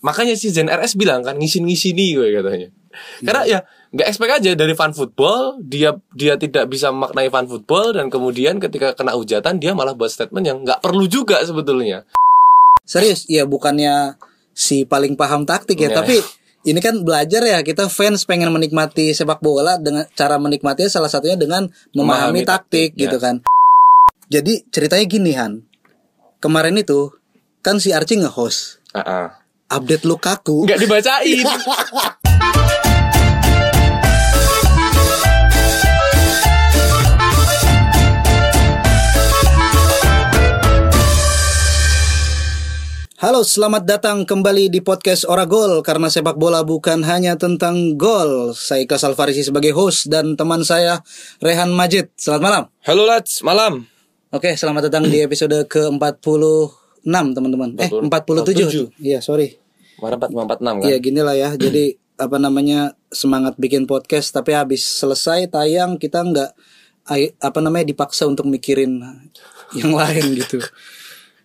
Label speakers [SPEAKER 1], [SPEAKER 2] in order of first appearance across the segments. [SPEAKER 1] Makanya si Zen RS bilang kan ngisin-ngisini gue katanya.
[SPEAKER 2] Iya.
[SPEAKER 1] Karena ya nggak expect aja dari fan football dia dia tidak bisa memaknai fan football dan kemudian ketika kena hujatan dia malah buat statement yang nggak perlu juga sebetulnya.
[SPEAKER 2] Serius, ya bukannya si paling paham taktik ya,
[SPEAKER 1] Iya.
[SPEAKER 2] tapi ini kan belajar ya kita fans pengen menikmati sepak bola dengan cara menikmatinya salah satunya dengan
[SPEAKER 1] Memahami
[SPEAKER 2] memahami, taktik,
[SPEAKER 1] taktik,
[SPEAKER 2] gitu
[SPEAKER 1] ya.
[SPEAKER 2] kan. Jadi ceritanya gini Han. Kemarin itu kan si Archie nge-host
[SPEAKER 1] Ah, ah.
[SPEAKER 2] update Lukaku.
[SPEAKER 1] Nggak dibacain.
[SPEAKER 2] Halo, selamat datang kembali di podcast Ora Gol karena sepak bola bukan hanya tentang gol. Saya Ikhlas Alfarisi sebagai host dan teman saya Rehan Majid. Selamat malam.
[SPEAKER 1] Halo Lats, malam.
[SPEAKER 2] Oke, selamat datang di episode ke-46, teman-teman. Eh, 47.
[SPEAKER 1] 47.
[SPEAKER 2] Iya, sorry.
[SPEAKER 1] Kemarin 4546 kan?
[SPEAKER 2] Iya, ginilah ya. Jadi apa namanya? semangat bikin podcast tapi habis selesai tayang kita nggak ai- apa namanya dipaksa untuk mikirin yang lain gitu.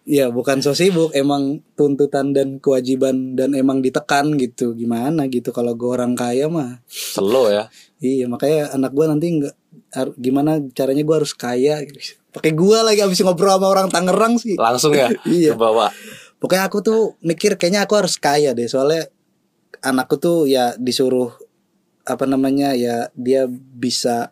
[SPEAKER 2] Ya, bukan so sibuk, emang tuntutan dan kewajiban dan emang ditekan gitu. Gimana gitu kalau gue orang kaya mah.
[SPEAKER 1] Slow ya.
[SPEAKER 2] Iya makanya anak gua nanti nggak har- gimana caranya gua harus kaya gitu. pakai gua lagi abis ngobrol sama orang Tangerang sih
[SPEAKER 1] Langsung ya ke
[SPEAKER 2] Iya.
[SPEAKER 1] bawah.
[SPEAKER 2] pokoknya aku tuh mikir kayaknya aku harus kaya deh soalnya anakku tuh ya disuruh apa namanya ya dia bisa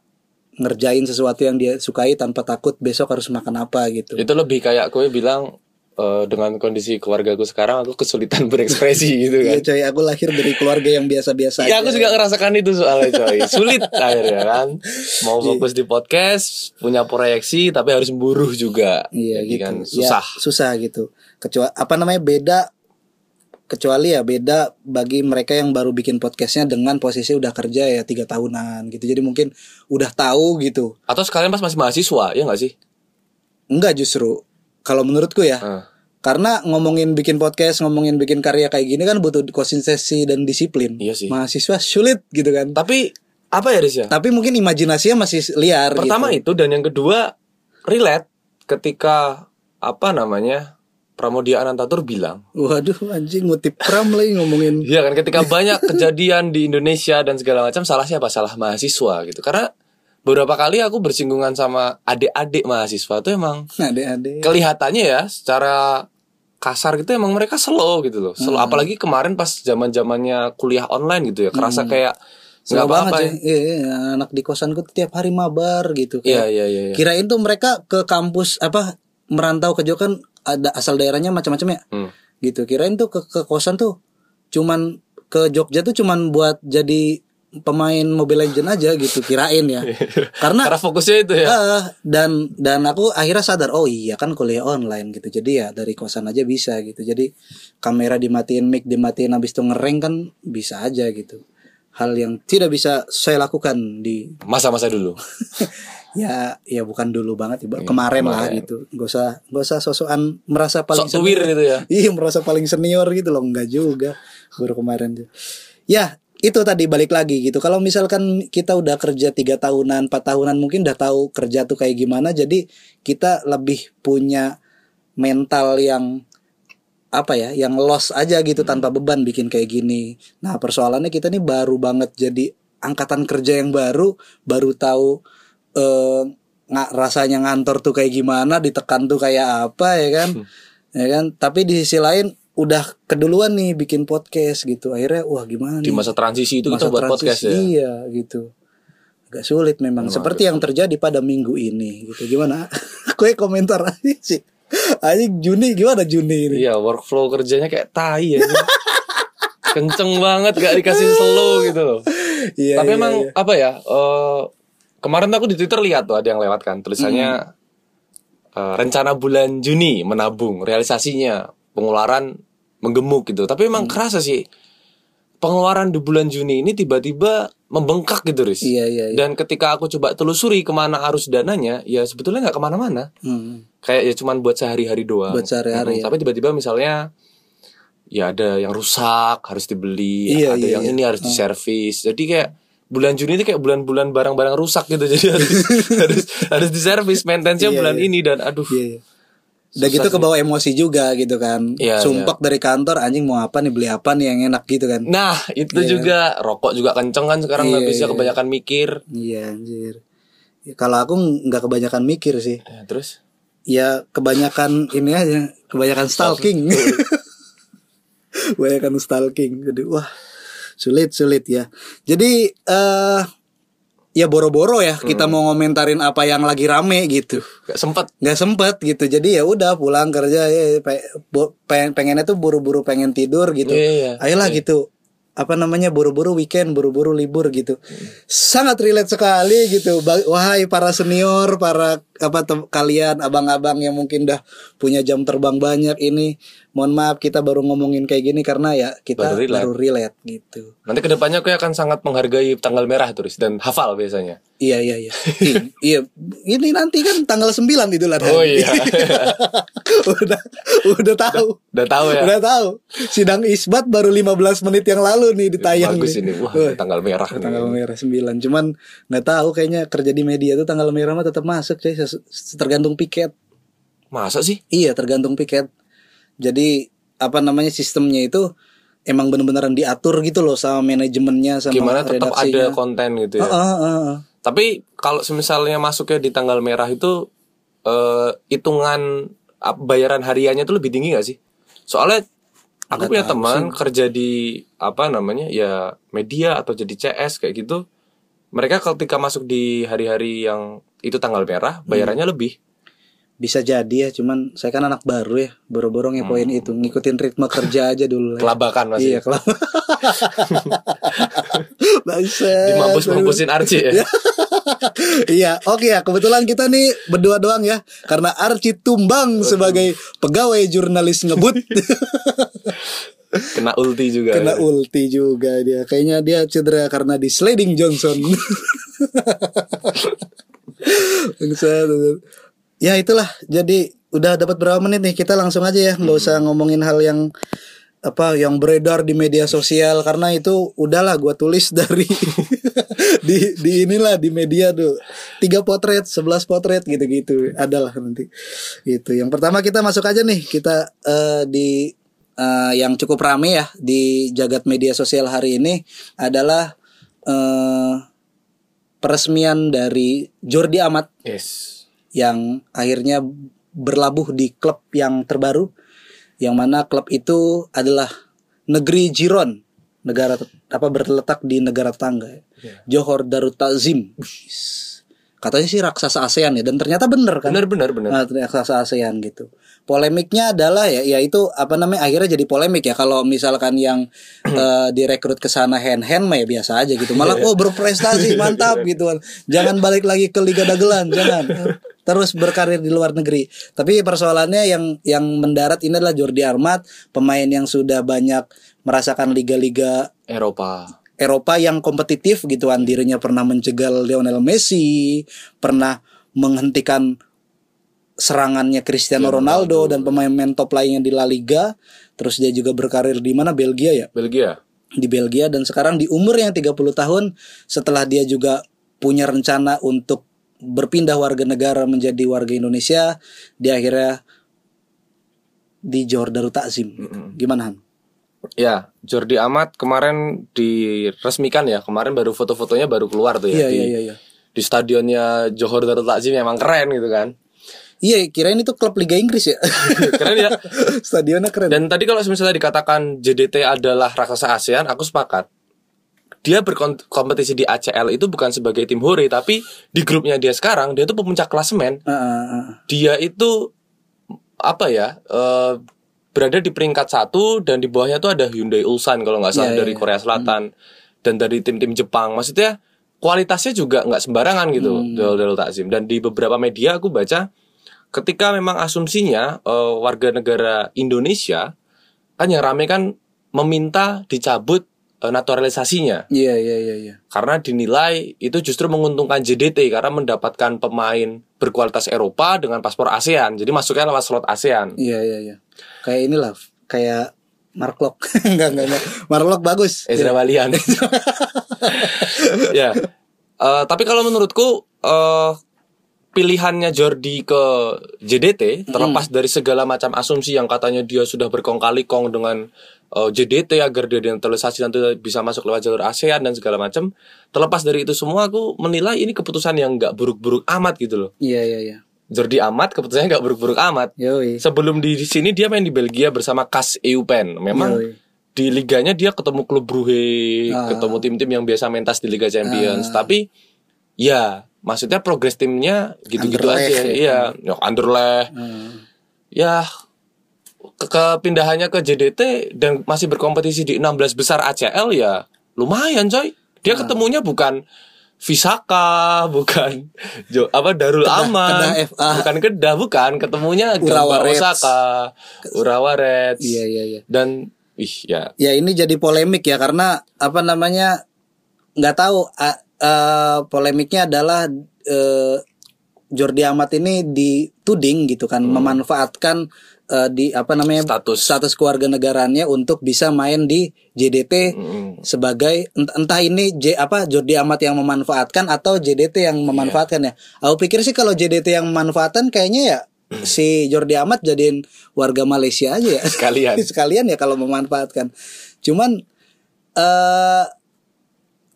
[SPEAKER 2] ngerjain sesuatu yang dia sukai tanpa takut besok harus makan apa gitu
[SPEAKER 1] Itu lebih kayak gue bilang eh, dengan kondisi keluargaku sekarang aku kesulitan berekspresi gitu kan.
[SPEAKER 2] Iya coy aku lahir dari keluarga yang biasa-biasa
[SPEAKER 1] Ya
[SPEAKER 2] aja.
[SPEAKER 1] aku juga ngerasakan itu soalnya coy Sulit akhirnya kan Mau
[SPEAKER 2] Iya.
[SPEAKER 1] fokus di podcast Punya proyeksi Tapi harus buruh juga
[SPEAKER 2] Iya
[SPEAKER 1] Jadi
[SPEAKER 2] gitu.
[SPEAKER 1] kan
[SPEAKER 2] Ya,
[SPEAKER 1] Susah
[SPEAKER 2] susah gitu. Kecuali apa namanya beda kecuali ya beda bagi mereka yang baru bikin podcastnya dengan posisi udah kerja ya tiga tahunan gitu. Jadi mungkin udah tahu gitu.
[SPEAKER 1] Atau sekalian pas masih mahasiswa Ya gak sih?
[SPEAKER 2] Enggak justru kalau menurutku ya.
[SPEAKER 1] Heeh.
[SPEAKER 2] Karena ngomongin bikin podcast, ngomongin bikin karya kayak gini kan butuh konsistensi dan disiplin.
[SPEAKER 1] Iya sih.
[SPEAKER 2] Mahasiswa sulit gitu kan.
[SPEAKER 1] Tapi Apa ya Riz ya?
[SPEAKER 2] Tapi mungkin imajinasinya masih liar
[SPEAKER 1] Pertama itu
[SPEAKER 2] gitu.
[SPEAKER 1] Dan yang kedua Relate Ketika Apa namanya Pramodia Anantatur bilang
[SPEAKER 2] Waduh anjing ngutip pram lagi ngomongin
[SPEAKER 1] Iya kan ketika banyak kejadian di Indonesia Dan segala macam Salah siapa? Salah mahasiswa gitu Karena Beberapa kali aku bersinggungan sama adik-adik mahasiswa tuh emang
[SPEAKER 2] ade-ade.
[SPEAKER 1] kelihatannya ya secara kasar gitu emang mereka slow gitu loh. Slow
[SPEAKER 2] Hmm.
[SPEAKER 1] apalagi kemarin pas zaman-zamannya kuliah online gitu ya. Kerasa kayak nggak
[SPEAKER 2] Nggak
[SPEAKER 1] apa-apa.
[SPEAKER 2] Hmm. banget
[SPEAKER 1] Ya.
[SPEAKER 2] ya. Iya, iya. anak di kosanku tuh tiap hari mabar gitu.
[SPEAKER 1] Iya
[SPEAKER 2] Kayak,
[SPEAKER 1] iya iya. iya.
[SPEAKER 2] Kirain tuh mereka ke kampus apa merantau ke Jogja kan ada asal daerahnya macam-macam ya.
[SPEAKER 1] Hmm.
[SPEAKER 2] Gitu. Kirain tuh ke, ke kosan tuh cuman ke Jogja tuh cuman buat jadi pemain Mobile Legend aja gitu kirain ya. Karena
[SPEAKER 1] Karena fokusnya itu ya.
[SPEAKER 2] eh, dan dan aku akhirnya sadar oh iya kan kuliah online gitu. Jadi ya dari kosan aja bisa gitu. Jadi kamera dimatiin, mic dimatiin habis itu ngereng kan bisa aja gitu. Hal yang tidak bisa saya lakukan di
[SPEAKER 1] Masa-masa dulu.
[SPEAKER 2] ya ya bukan dulu banget ya, kemarin, lah
[SPEAKER 1] kemarin.
[SPEAKER 2] gitu gak usah gak usah sosokan merasa paling
[SPEAKER 1] Sok tuwir gitu ya.
[SPEAKER 2] iya merasa paling senior gitu loh enggak juga baru kemarin tuh ya itu tadi balik lagi gitu kalau misalkan kita udah kerja tiga tahunan empat tahunan mungkin udah tahu kerja tuh kayak gimana jadi kita lebih punya mental yang apa ya yang loss aja gitu
[SPEAKER 1] Hmm.
[SPEAKER 2] tanpa beban bikin kayak gini nah persoalannya kita nih baru banget jadi angkatan kerja yang baru baru tahu eh, nga- rasanya ngantor tuh kayak gimana ditekan tuh kayak apa ya kan
[SPEAKER 1] Hmm.
[SPEAKER 2] ya kan tapi di sisi lain udah keduluan nih bikin podcast gitu akhirnya wah gimana
[SPEAKER 1] Di
[SPEAKER 2] nih?
[SPEAKER 1] masa transisi itu
[SPEAKER 2] Masa
[SPEAKER 1] kita buat podcast
[SPEAKER 2] transisi,
[SPEAKER 1] ya.
[SPEAKER 2] iya gitu agak sulit memang seperti yang terjadi pada minggu ini gitu gimana kue komentar aja sih aja Juni gimana Juni ini
[SPEAKER 1] Iya, workflow kerjanya kayak tai ya. Kenceng banget gak dikasih slow gitu loh.
[SPEAKER 2] Iya,
[SPEAKER 1] Tapi
[SPEAKER 2] iya,
[SPEAKER 1] emang
[SPEAKER 2] iya.
[SPEAKER 1] apa ya? eh, kemarin aku di Twitter lihat tuh ada yang lewat kan tulisannya
[SPEAKER 2] Hmm.
[SPEAKER 1] eh, rencana bulan Juni menabung, realisasinya pengeluaran menggemuk gitu. Tapi emang
[SPEAKER 2] Hmm.
[SPEAKER 1] kerasa sih pengeluaran di bulan Juni ini tiba-tiba membengkak gitu, Riz.
[SPEAKER 2] iya iya iya
[SPEAKER 1] Dan ketika aku coba telusuri kemana arus dananya, ya sebetulnya nggak kemana-mana
[SPEAKER 2] Hmm.
[SPEAKER 1] kayak ya cuman buat sehari-hari doang.
[SPEAKER 2] Buat sehari-hari, ya.
[SPEAKER 1] Tapi tiba-tiba misalnya ya ada yang rusak harus dibeli,
[SPEAKER 2] Iya,
[SPEAKER 1] ada
[SPEAKER 2] iya,
[SPEAKER 1] yang
[SPEAKER 2] iya.
[SPEAKER 1] ini harus diservis. Jadi kayak bulan Juni itu kayak bulan-bulan barang-barang rusak gitu. Jadi harus harus harus diservis maintenance-nya
[SPEAKER 2] Iya,
[SPEAKER 1] bulan
[SPEAKER 2] iya.
[SPEAKER 1] ini dan aduh
[SPEAKER 2] Iya, iya. Udah
[SPEAKER 1] Susah
[SPEAKER 2] gitu
[SPEAKER 1] sih.
[SPEAKER 2] ke bawah emosi juga gitu kan.
[SPEAKER 1] Iya,
[SPEAKER 2] Sumpek dari kantor anjing mau apa nih beli apa nih yang enak gitu kan.
[SPEAKER 1] Nah, itu
[SPEAKER 2] Iya.
[SPEAKER 1] juga rokok juga kenceng kan sekarang nggak
[SPEAKER 2] Iya,
[SPEAKER 1] bisa
[SPEAKER 2] iya.
[SPEAKER 1] kebanyakan mikir.
[SPEAKER 2] Iya anjir. Ya, Kalau aku nggak kebanyakan mikir sih.
[SPEAKER 1] Ya, terus
[SPEAKER 2] Ya kebanyakan ini aja, kebanyakan stalking.
[SPEAKER 1] Iya,
[SPEAKER 2] kebanyakan stalking. Jadi wah sulit sulit ya. Jadi eh ya boro-boro ya kita
[SPEAKER 1] Hmm.
[SPEAKER 2] mau ngomentarin apa yang lagi rame gitu.
[SPEAKER 1] gak sempet
[SPEAKER 2] nggak sempet gitu jadi ya udah pulang kerja ya pe- bo- pengen pengennya tuh buru-buru pengen tidur gitu
[SPEAKER 1] Iya, iya.
[SPEAKER 2] ayolah gitu apa namanya buru-buru weekend buru-buru libur gitu
[SPEAKER 1] Hmm.
[SPEAKER 2] sangat relate sekali gitu Ba- wahai para senior para apa tem- kalian abang-abang yang mungkin dah punya jam terbang banyak ini mohon maaf kita baru ngomongin kayak gini karena ya kita
[SPEAKER 1] Baru relate.
[SPEAKER 2] baru relate gitu
[SPEAKER 1] Nanti kedepannya aku akan sangat menghargai tanggal merah terus dan hafal biasanya.
[SPEAKER 2] Iya iya iya. Iya, iya. Ini nanti kan tanggal 9 Idul Adha.
[SPEAKER 1] Oh, iya.
[SPEAKER 2] udah udah tahu.
[SPEAKER 1] Udah tahu ya.
[SPEAKER 2] Udah tahu. Sidang Isbat baru 15 menit yang lalu nih ditayang
[SPEAKER 1] Bagus
[SPEAKER 2] nih.
[SPEAKER 1] ini. Wah,
[SPEAKER 2] Wah,
[SPEAKER 1] tanggal merah. nih.
[SPEAKER 2] tanggal merah 9. Cuman nggak tahu kayaknya kerja di media tuh tanggal merah mah tetap masuk coy. Ses- tergantung piket.
[SPEAKER 1] Masa sih?
[SPEAKER 2] Iya, tergantung piket. Jadi apa namanya sistemnya itu emang bener-beneran diatur gitu loh sama manajemennya sama
[SPEAKER 1] Gimana tetap ada
[SPEAKER 2] redaksinya.
[SPEAKER 1] konten gitu ya.
[SPEAKER 2] Heeh, heeh, heeh.
[SPEAKER 1] Tapi kalau misalnya masuknya di tanggal merah itu eh, hitungan ap- bayaran hariannya itu lebih tinggi gak sih? Soalnya aku
[SPEAKER 2] Nggak
[SPEAKER 1] punya
[SPEAKER 2] tahu
[SPEAKER 1] teman kerja di apa namanya ya media atau jadi CS kayak gitu. Mereka ketika masuk di hari-hari yang itu tanggal
[SPEAKER 2] Hmm.
[SPEAKER 1] merah bayarannya lebih.
[SPEAKER 2] bisa jadi ya cuman saya kan anak baru ya boro-boro
[SPEAKER 1] Hmm.
[SPEAKER 2] ngepoin itu ngikutin ritme kerja aja dulu ya.
[SPEAKER 1] Kelabakan masih.
[SPEAKER 2] iya kelab bangsa Eh,
[SPEAKER 1] Dimampus-mampusin Arci ya.
[SPEAKER 2] iya oke ya kebetulan kita nih berdua doang ya karena Arci tumbang sebagai pegawai jurnalis ngebut
[SPEAKER 1] Kena ulti juga.
[SPEAKER 2] kena ulti juga dia kayaknya dia cedera karena di sliding Johnson Bangsa, bangsa. ya itulah jadi udah dapat berapa menit nih kita langsung aja ya nggak usah ngomongin hal yang apa yang beredar di media sosial karena itu udahlah gua tulis dari di di inilah di media tuh tiga potret 11 potret gitu-gitu adalah nanti itu yang pertama kita masuk aja nih kita eh, di eh, yang cukup rame ya di jagat media sosial hari ini adalah eh, peresmian dari Jordi Amat
[SPEAKER 1] Yes.
[SPEAKER 2] yang akhirnya berlabuh di klub yang terbaru yang mana klub itu adalah negeri Jiron negara tet- apa berletak di negara tetangga
[SPEAKER 1] Iya.
[SPEAKER 2] Johor Darut Takzim Wis. katanya sih raksasa ASEAN ya dan ternyata bener kan
[SPEAKER 1] Bener bener bener.
[SPEAKER 2] Nah, raksasa ASEAN gitu. Polemiknya adalah ya yaitu apa namanya akhirnya jadi polemik ya kalau misalkan yang eh, direkrut ke sana hand hand mah ya biasa aja gitu. Malah oh berprestasi mantap gitu kan. Jangan balik lagi ke Liga Dagelan, jangan. Terus berkarir di luar negeri. Tapi persoalannya yang yang mendarat ini adalah Jordi Armat, pemain yang sudah banyak merasakan liga-liga
[SPEAKER 1] Eropa.
[SPEAKER 2] Eropa yang kompetitif gitu kan dirinya pernah menjegal Lionel Messi, pernah menghentikan serangannya Cristiano Ronaldo dan pemain-pemain top lainnya di La Liga. Terus dia juga berkarir di mana Belgia ya?
[SPEAKER 1] Belgia.
[SPEAKER 2] Di Belgia dan sekarang di umur yang 30 tahun setelah dia juga punya rencana untuk berpindah warga negara menjadi warga Indonesia, dia akhirnya di Johor Darul Takzim. Gimana? Han?
[SPEAKER 1] Ya, Jordi Amat kemarin diresmikan ya. Kemarin baru foto-fotonya baru keluar tuh ya.
[SPEAKER 2] Iya
[SPEAKER 1] di,
[SPEAKER 2] iya iya iya.
[SPEAKER 1] di stadionnya Johor Darul Takzim emang keren gitu kan.
[SPEAKER 2] Iya, kirain itu klub Liga Inggris ya.
[SPEAKER 1] keren ya.
[SPEAKER 2] Stadionnya keren.
[SPEAKER 1] Dan tadi kalau misalnya dikatakan JDT adalah raksasa ASEAN, aku sepakat. Dia berkompetisi di ACL itu bukan sebagai tim hore, tapi di grupnya dia sekarang dia itu pemuncak klasemen.
[SPEAKER 2] Ah, ah, ah.
[SPEAKER 1] Dia itu apa ya? eh, berada di peringkat satu dan di bawahnya tuh ada Hyundai Ulsan kalau nggak salah
[SPEAKER 2] Iya,
[SPEAKER 1] dari
[SPEAKER 2] iya.
[SPEAKER 1] Korea Selatan dan dari tim-tim Jepang. Maksudnya kualitasnya juga nggak sembarangan gitu
[SPEAKER 2] Hmm.
[SPEAKER 1] Darul Darul Takzim. Dan di beberapa media aku baca ketika memang asumsinya eh, warga negara Indonesia kan yang rame kan meminta dicabut eh, naturalisasinya
[SPEAKER 2] Iya iya iya iya.
[SPEAKER 1] karena dinilai itu justru menguntungkan JDT karena mendapatkan pemain berkualitas Eropa dengan paspor ASEAN. Jadi masuknya lewat slot ASEAN.
[SPEAKER 2] Iya iya iya. Kayak inilah kayak Marklock. enggak enggak enggak. Marklock bagus.
[SPEAKER 1] Ezra Walian. ya. Eh, tapi kalau menurutku eh pilihannya Jordi ke JDT terlepas dari segala macam asumsi yang katanya dia sudah berkong-kali-kong dengan eh, JDT agar dia denetralisasi nanti bisa masuk lewat jalur ASEAN dan segala macam terlepas dari itu semua aku menilai ini keputusan yang nggak buruk-buruk amat gitu loh
[SPEAKER 2] Iya iya iya.
[SPEAKER 1] Jordi amat keputusannya nggak buruk-buruk amat
[SPEAKER 2] Yoi.
[SPEAKER 1] sebelum di, di sini dia main di Belgia bersama Kas Eupen memang
[SPEAKER 2] Yoi.
[SPEAKER 1] di liganya dia ketemu klub Brugge,
[SPEAKER 2] Ah.
[SPEAKER 1] ketemu tim-tim yang biasa mentas di Liga Champions. Tapi ya maksudnya progres timnya gitu-gitu
[SPEAKER 2] Anderlecht
[SPEAKER 1] aja.
[SPEAKER 2] ya.
[SPEAKER 1] Iya, ya Anderlecht.
[SPEAKER 2] Hmm.
[SPEAKER 1] Ya ke kepindahannya ke JDT dan masih berkompetisi di 16 besar ACL ya lumayan coy.
[SPEAKER 2] Ah.
[SPEAKER 1] Dia ketemunya bukan Visaka, bukan Jo apa Darul
[SPEAKER 2] Kedah-
[SPEAKER 1] Aman,
[SPEAKER 2] Kedah FA.
[SPEAKER 1] bukan Kedah, bukan ketemunya
[SPEAKER 2] Urawa
[SPEAKER 1] Gamba
[SPEAKER 2] Reds.
[SPEAKER 1] Osaka, Urawa Reds.
[SPEAKER 2] Iya iya iya.
[SPEAKER 1] Dan ih ya
[SPEAKER 2] Ya ini jadi polemik ya karena apa namanya nggak tahu a- eh, polemiknya adalah eh, Jordi Amat ini dituding gitu kan memanfaatkan eh, di apa namanya
[SPEAKER 1] Hmm. Status.
[SPEAKER 2] status keluarga negaranya untuk bisa main di JDT
[SPEAKER 1] Mm.
[SPEAKER 2] sebagai ent- entah ini J apa Jordi Amat yang memanfaatkan atau JDT
[SPEAKER 1] Iya.
[SPEAKER 2] yang memanfaatkan ya. Aku pikir sih kalau JDT yang memanfaatkan kayaknya ya
[SPEAKER 1] Hmm.
[SPEAKER 2] si Jordi Amat jadiin warga Malaysia aja ya.
[SPEAKER 1] Sekalian.
[SPEAKER 2] sekalian ya kalau memanfaatkan. Cuman eh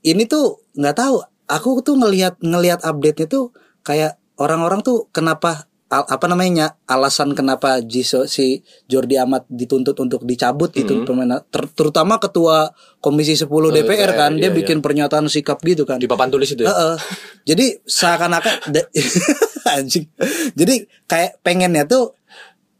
[SPEAKER 2] ini tuh nggak tahu. Aku tuh ngelihat ngelihat update-nya tuh kayak orang-orang tuh kenapa al- apa namanya alasan kenapa Jiso, si Jordi Amat dituntut untuk dicabut gitu
[SPEAKER 1] Mm-hmm.
[SPEAKER 2] pemain- ter- terutama ketua Komisi 10 DPR kan
[SPEAKER 1] DPR,
[SPEAKER 2] dia
[SPEAKER 1] iya,
[SPEAKER 2] bikin pernyataan sikap gitu kan.
[SPEAKER 1] di papan tulis itu ya?
[SPEAKER 2] Heeh. Jadi seakan-akan da- anjing. Jadi kayak pengennya tuh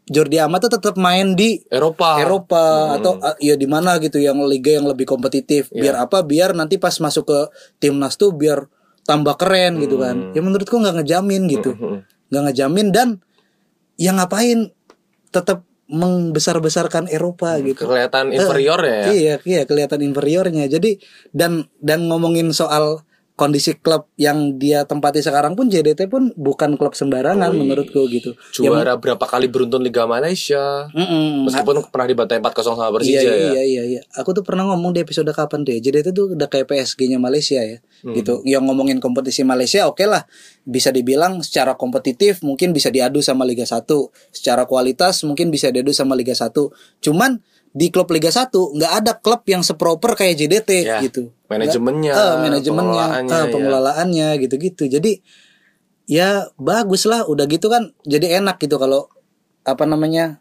[SPEAKER 2] Jordi Amat tuh tetap main di
[SPEAKER 1] Eropa.
[SPEAKER 2] Eropa atau uh, ya di mana gitu yang liga yang lebih kompetitif. Biar apa? Biar nanti pas masuk ke timnas tuh biar tambah keren gitu kan. Ya menurutku nggak ngejamin gitu. Nggak ngejamin dan yang ngapain tetap membesar-besarkan Eropa gitu.
[SPEAKER 1] Kelihatan inferior ya.
[SPEAKER 2] Iya, iya kelihatan inferiornya. Jadi dan dan ngomongin soal kondisi klub yang dia tempati sekarang pun JDT pun bukan klub sembarangan menurutku gitu. Ya,
[SPEAKER 1] Juara berapa kali beruntun Liga Malaysia.
[SPEAKER 2] mm-mm.
[SPEAKER 1] Meskipun pernah dibantai 4-0 sama Persija
[SPEAKER 2] Nah. iya,
[SPEAKER 1] ya.
[SPEAKER 2] iya, iya, iya. Aku tuh pernah ngomong di episode kapan tuh ya. JDT tuh udah kayak PSG-nya Malaysia ya.
[SPEAKER 1] Hmm.
[SPEAKER 2] Gitu. Yang ngomongin kompetisi Malaysia oke lah. Bisa dibilang secara kompetitif mungkin bisa diadu sama Liga 1. Secara kualitas mungkin bisa diadu sama Liga 1. Cuman di klub Liga 1 nggak ada klub yang seproper kayak JDT
[SPEAKER 1] Ya,
[SPEAKER 2] gitu.
[SPEAKER 1] manajemennya,
[SPEAKER 2] Eh, manajemennya,
[SPEAKER 1] pengelolaannya,
[SPEAKER 2] eh,
[SPEAKER 1] ya.
[SPEAKER 2] pengelolaannya gitu-gitu. Jadi ya bagus lah udah gitu kan jadi enak gitu kalau apa namanya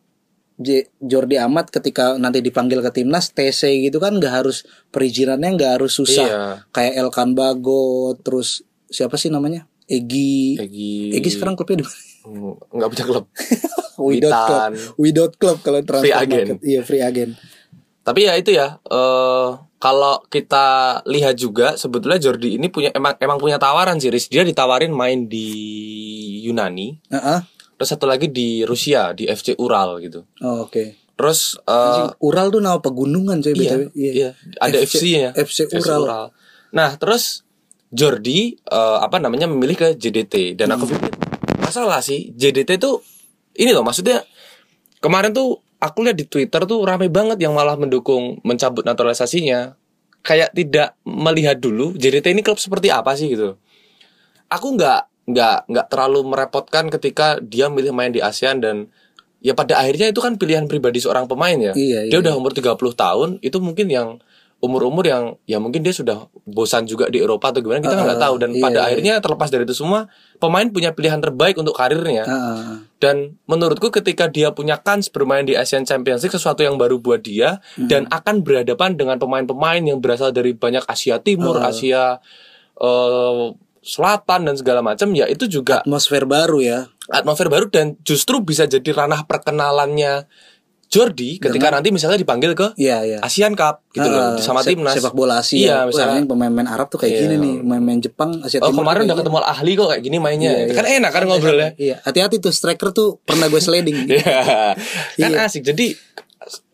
[SPEAKER 2] J- Jordi Amat ketika nanti dipanggil ke timnas TC gitu kan nggak harus perizinannya nggak harus susah
[SPEAKER 1] Iya.
[SPEAKER 2] kayak Elkan Bago terus siapa sih namanya Egi Egi,
[SPEAKER 1] Egi.
[SPEAKER 2] sekarang klubnya di mana?
[SPEAKER 1] Hmm, nggak punya klub.
[SPEAKER 2] Widot Club
[SPEAKER 1] Witan.
[SPEAKER 2] Widot Club kalau transfer
[SPEAKER 1] Free agent.
[SPEAKER 2] market. iya free agent
[SPEAKER 1] Tapi ya itu ya. eh, kalau kita lihat juga sebetulnya Jordi ini punya emang emang punya tawaran sih. Riz. Dia ditawarin main di Yunani,
[SPEAKER 2] Heeh.
[SPEAKER 1] terus satu lagi di Rusia di FC Ural gitu.
[SPEAKER 2] Oh, oke
[SPEAKER 1] Terus eh,
[SPEAKER 2] Ural tuh nama pegunungan coy
[SPEAKER 1] Iya,
[SPEAKER 2] BTW.
[SPEAKER 1] iya. Ada FC-nya.
[SPEAKER 2] FC Ural.
[SPEAKER 1] Nah, terus Jordi eh, apa namanya memilih ke JDT dan aku pikir masalah sih JDT tuh ini loh maksudnya kemarin tuh aku lihat di Twitter tuh rame banget yang malah mendukung mencabut naturalisasinya. Kayak tidak melihat dulu JDT ini klub seperti apa sih gitu. Aku nggak nggak nggak terlalu merepotkan ketika dia milih main di ASEAN dan ya pada akhirnya itu kan pilihan pribadi seorang pemain ya. dia
[SPEAKER 2] Iya, iya.
[SPEAKER 1] udah umur 30 tahun itu mungkin yang umur-umur yang ya mungkin dia sudah bosan juga di Eropa atau gimana kita
[SPEAKER 2] Ah,
[SPEAKER 1] nggak tahu dan
[SPEAKER 2] iya,
[SPEAKER 1] pada
[SPEAKER 2] iya.
[SPEAKER 1] akhirnya terlepas dari itu semua pemain punya pilihan terbaik untuk karirnya
[SPEAKER 2] Heeh.
[SPEAKER 1] dan menurutku ketika dia punya kans bermain di Asian Champions League sesuatu yang baru buat dia
[SPEAKER 2] Hmm.
[SPEAKER 1] dan akan berhadapan dengan pemain-pemain yang berasal dari banyak Asia Timur, Asia eh, Selatan dan segala macam ya itu juga
[SPEAKER 2] atmosfer baru ya
[SPEAKER 1] atmosfer baru dan justru bisa jadi ranah perkenalannya Jordi ketika nanti misalnya dipanggil ke
[SPEAKER 2] Iya iya.
[SPEAKER 1] ASEAN Cup gitu loh
[SPEAKER 2] Heeh,
[SPEAKER 1] sama
[SPEAKER 2] se-
[SPEAKER 1] timnas.
[SPEAKER 2] Eh, Sepak bola Asia.
[SPEAKER 1] Iya,
[SPEAKER 2] Wah,
[SPEAKER 1] misalnya.
[SPEAKER 2] ini pemain-pemain Arab tuh kayak
[SPEAKER 1] Iya.
[SPEAKER 2] gini nih, pemain-pemain Jepang Asia
[SPEAKER 1] Oh
[SPEAKER 2] Timur.
[SPEAKER 1] kemarin
[SPEAKER 2] tuh
[SPEAKER 1] udah
[SPEAKER 2] kayak
[SPEAKER 1] ketemu ahli kok kayak gini mainnya.
[SPEAKER 2] gitu. Iya, iya.
[SPEAKER 1] Kan enak kan ngobrolnya.
[SPEAKER 2] gini. Iya, hati-hati tuh striker tuh pernah gue sliding.
[SPEAKER 1] Iya. kan
[SPEAKER 2] Iya.
[SPEAKER 1] asik. Jadi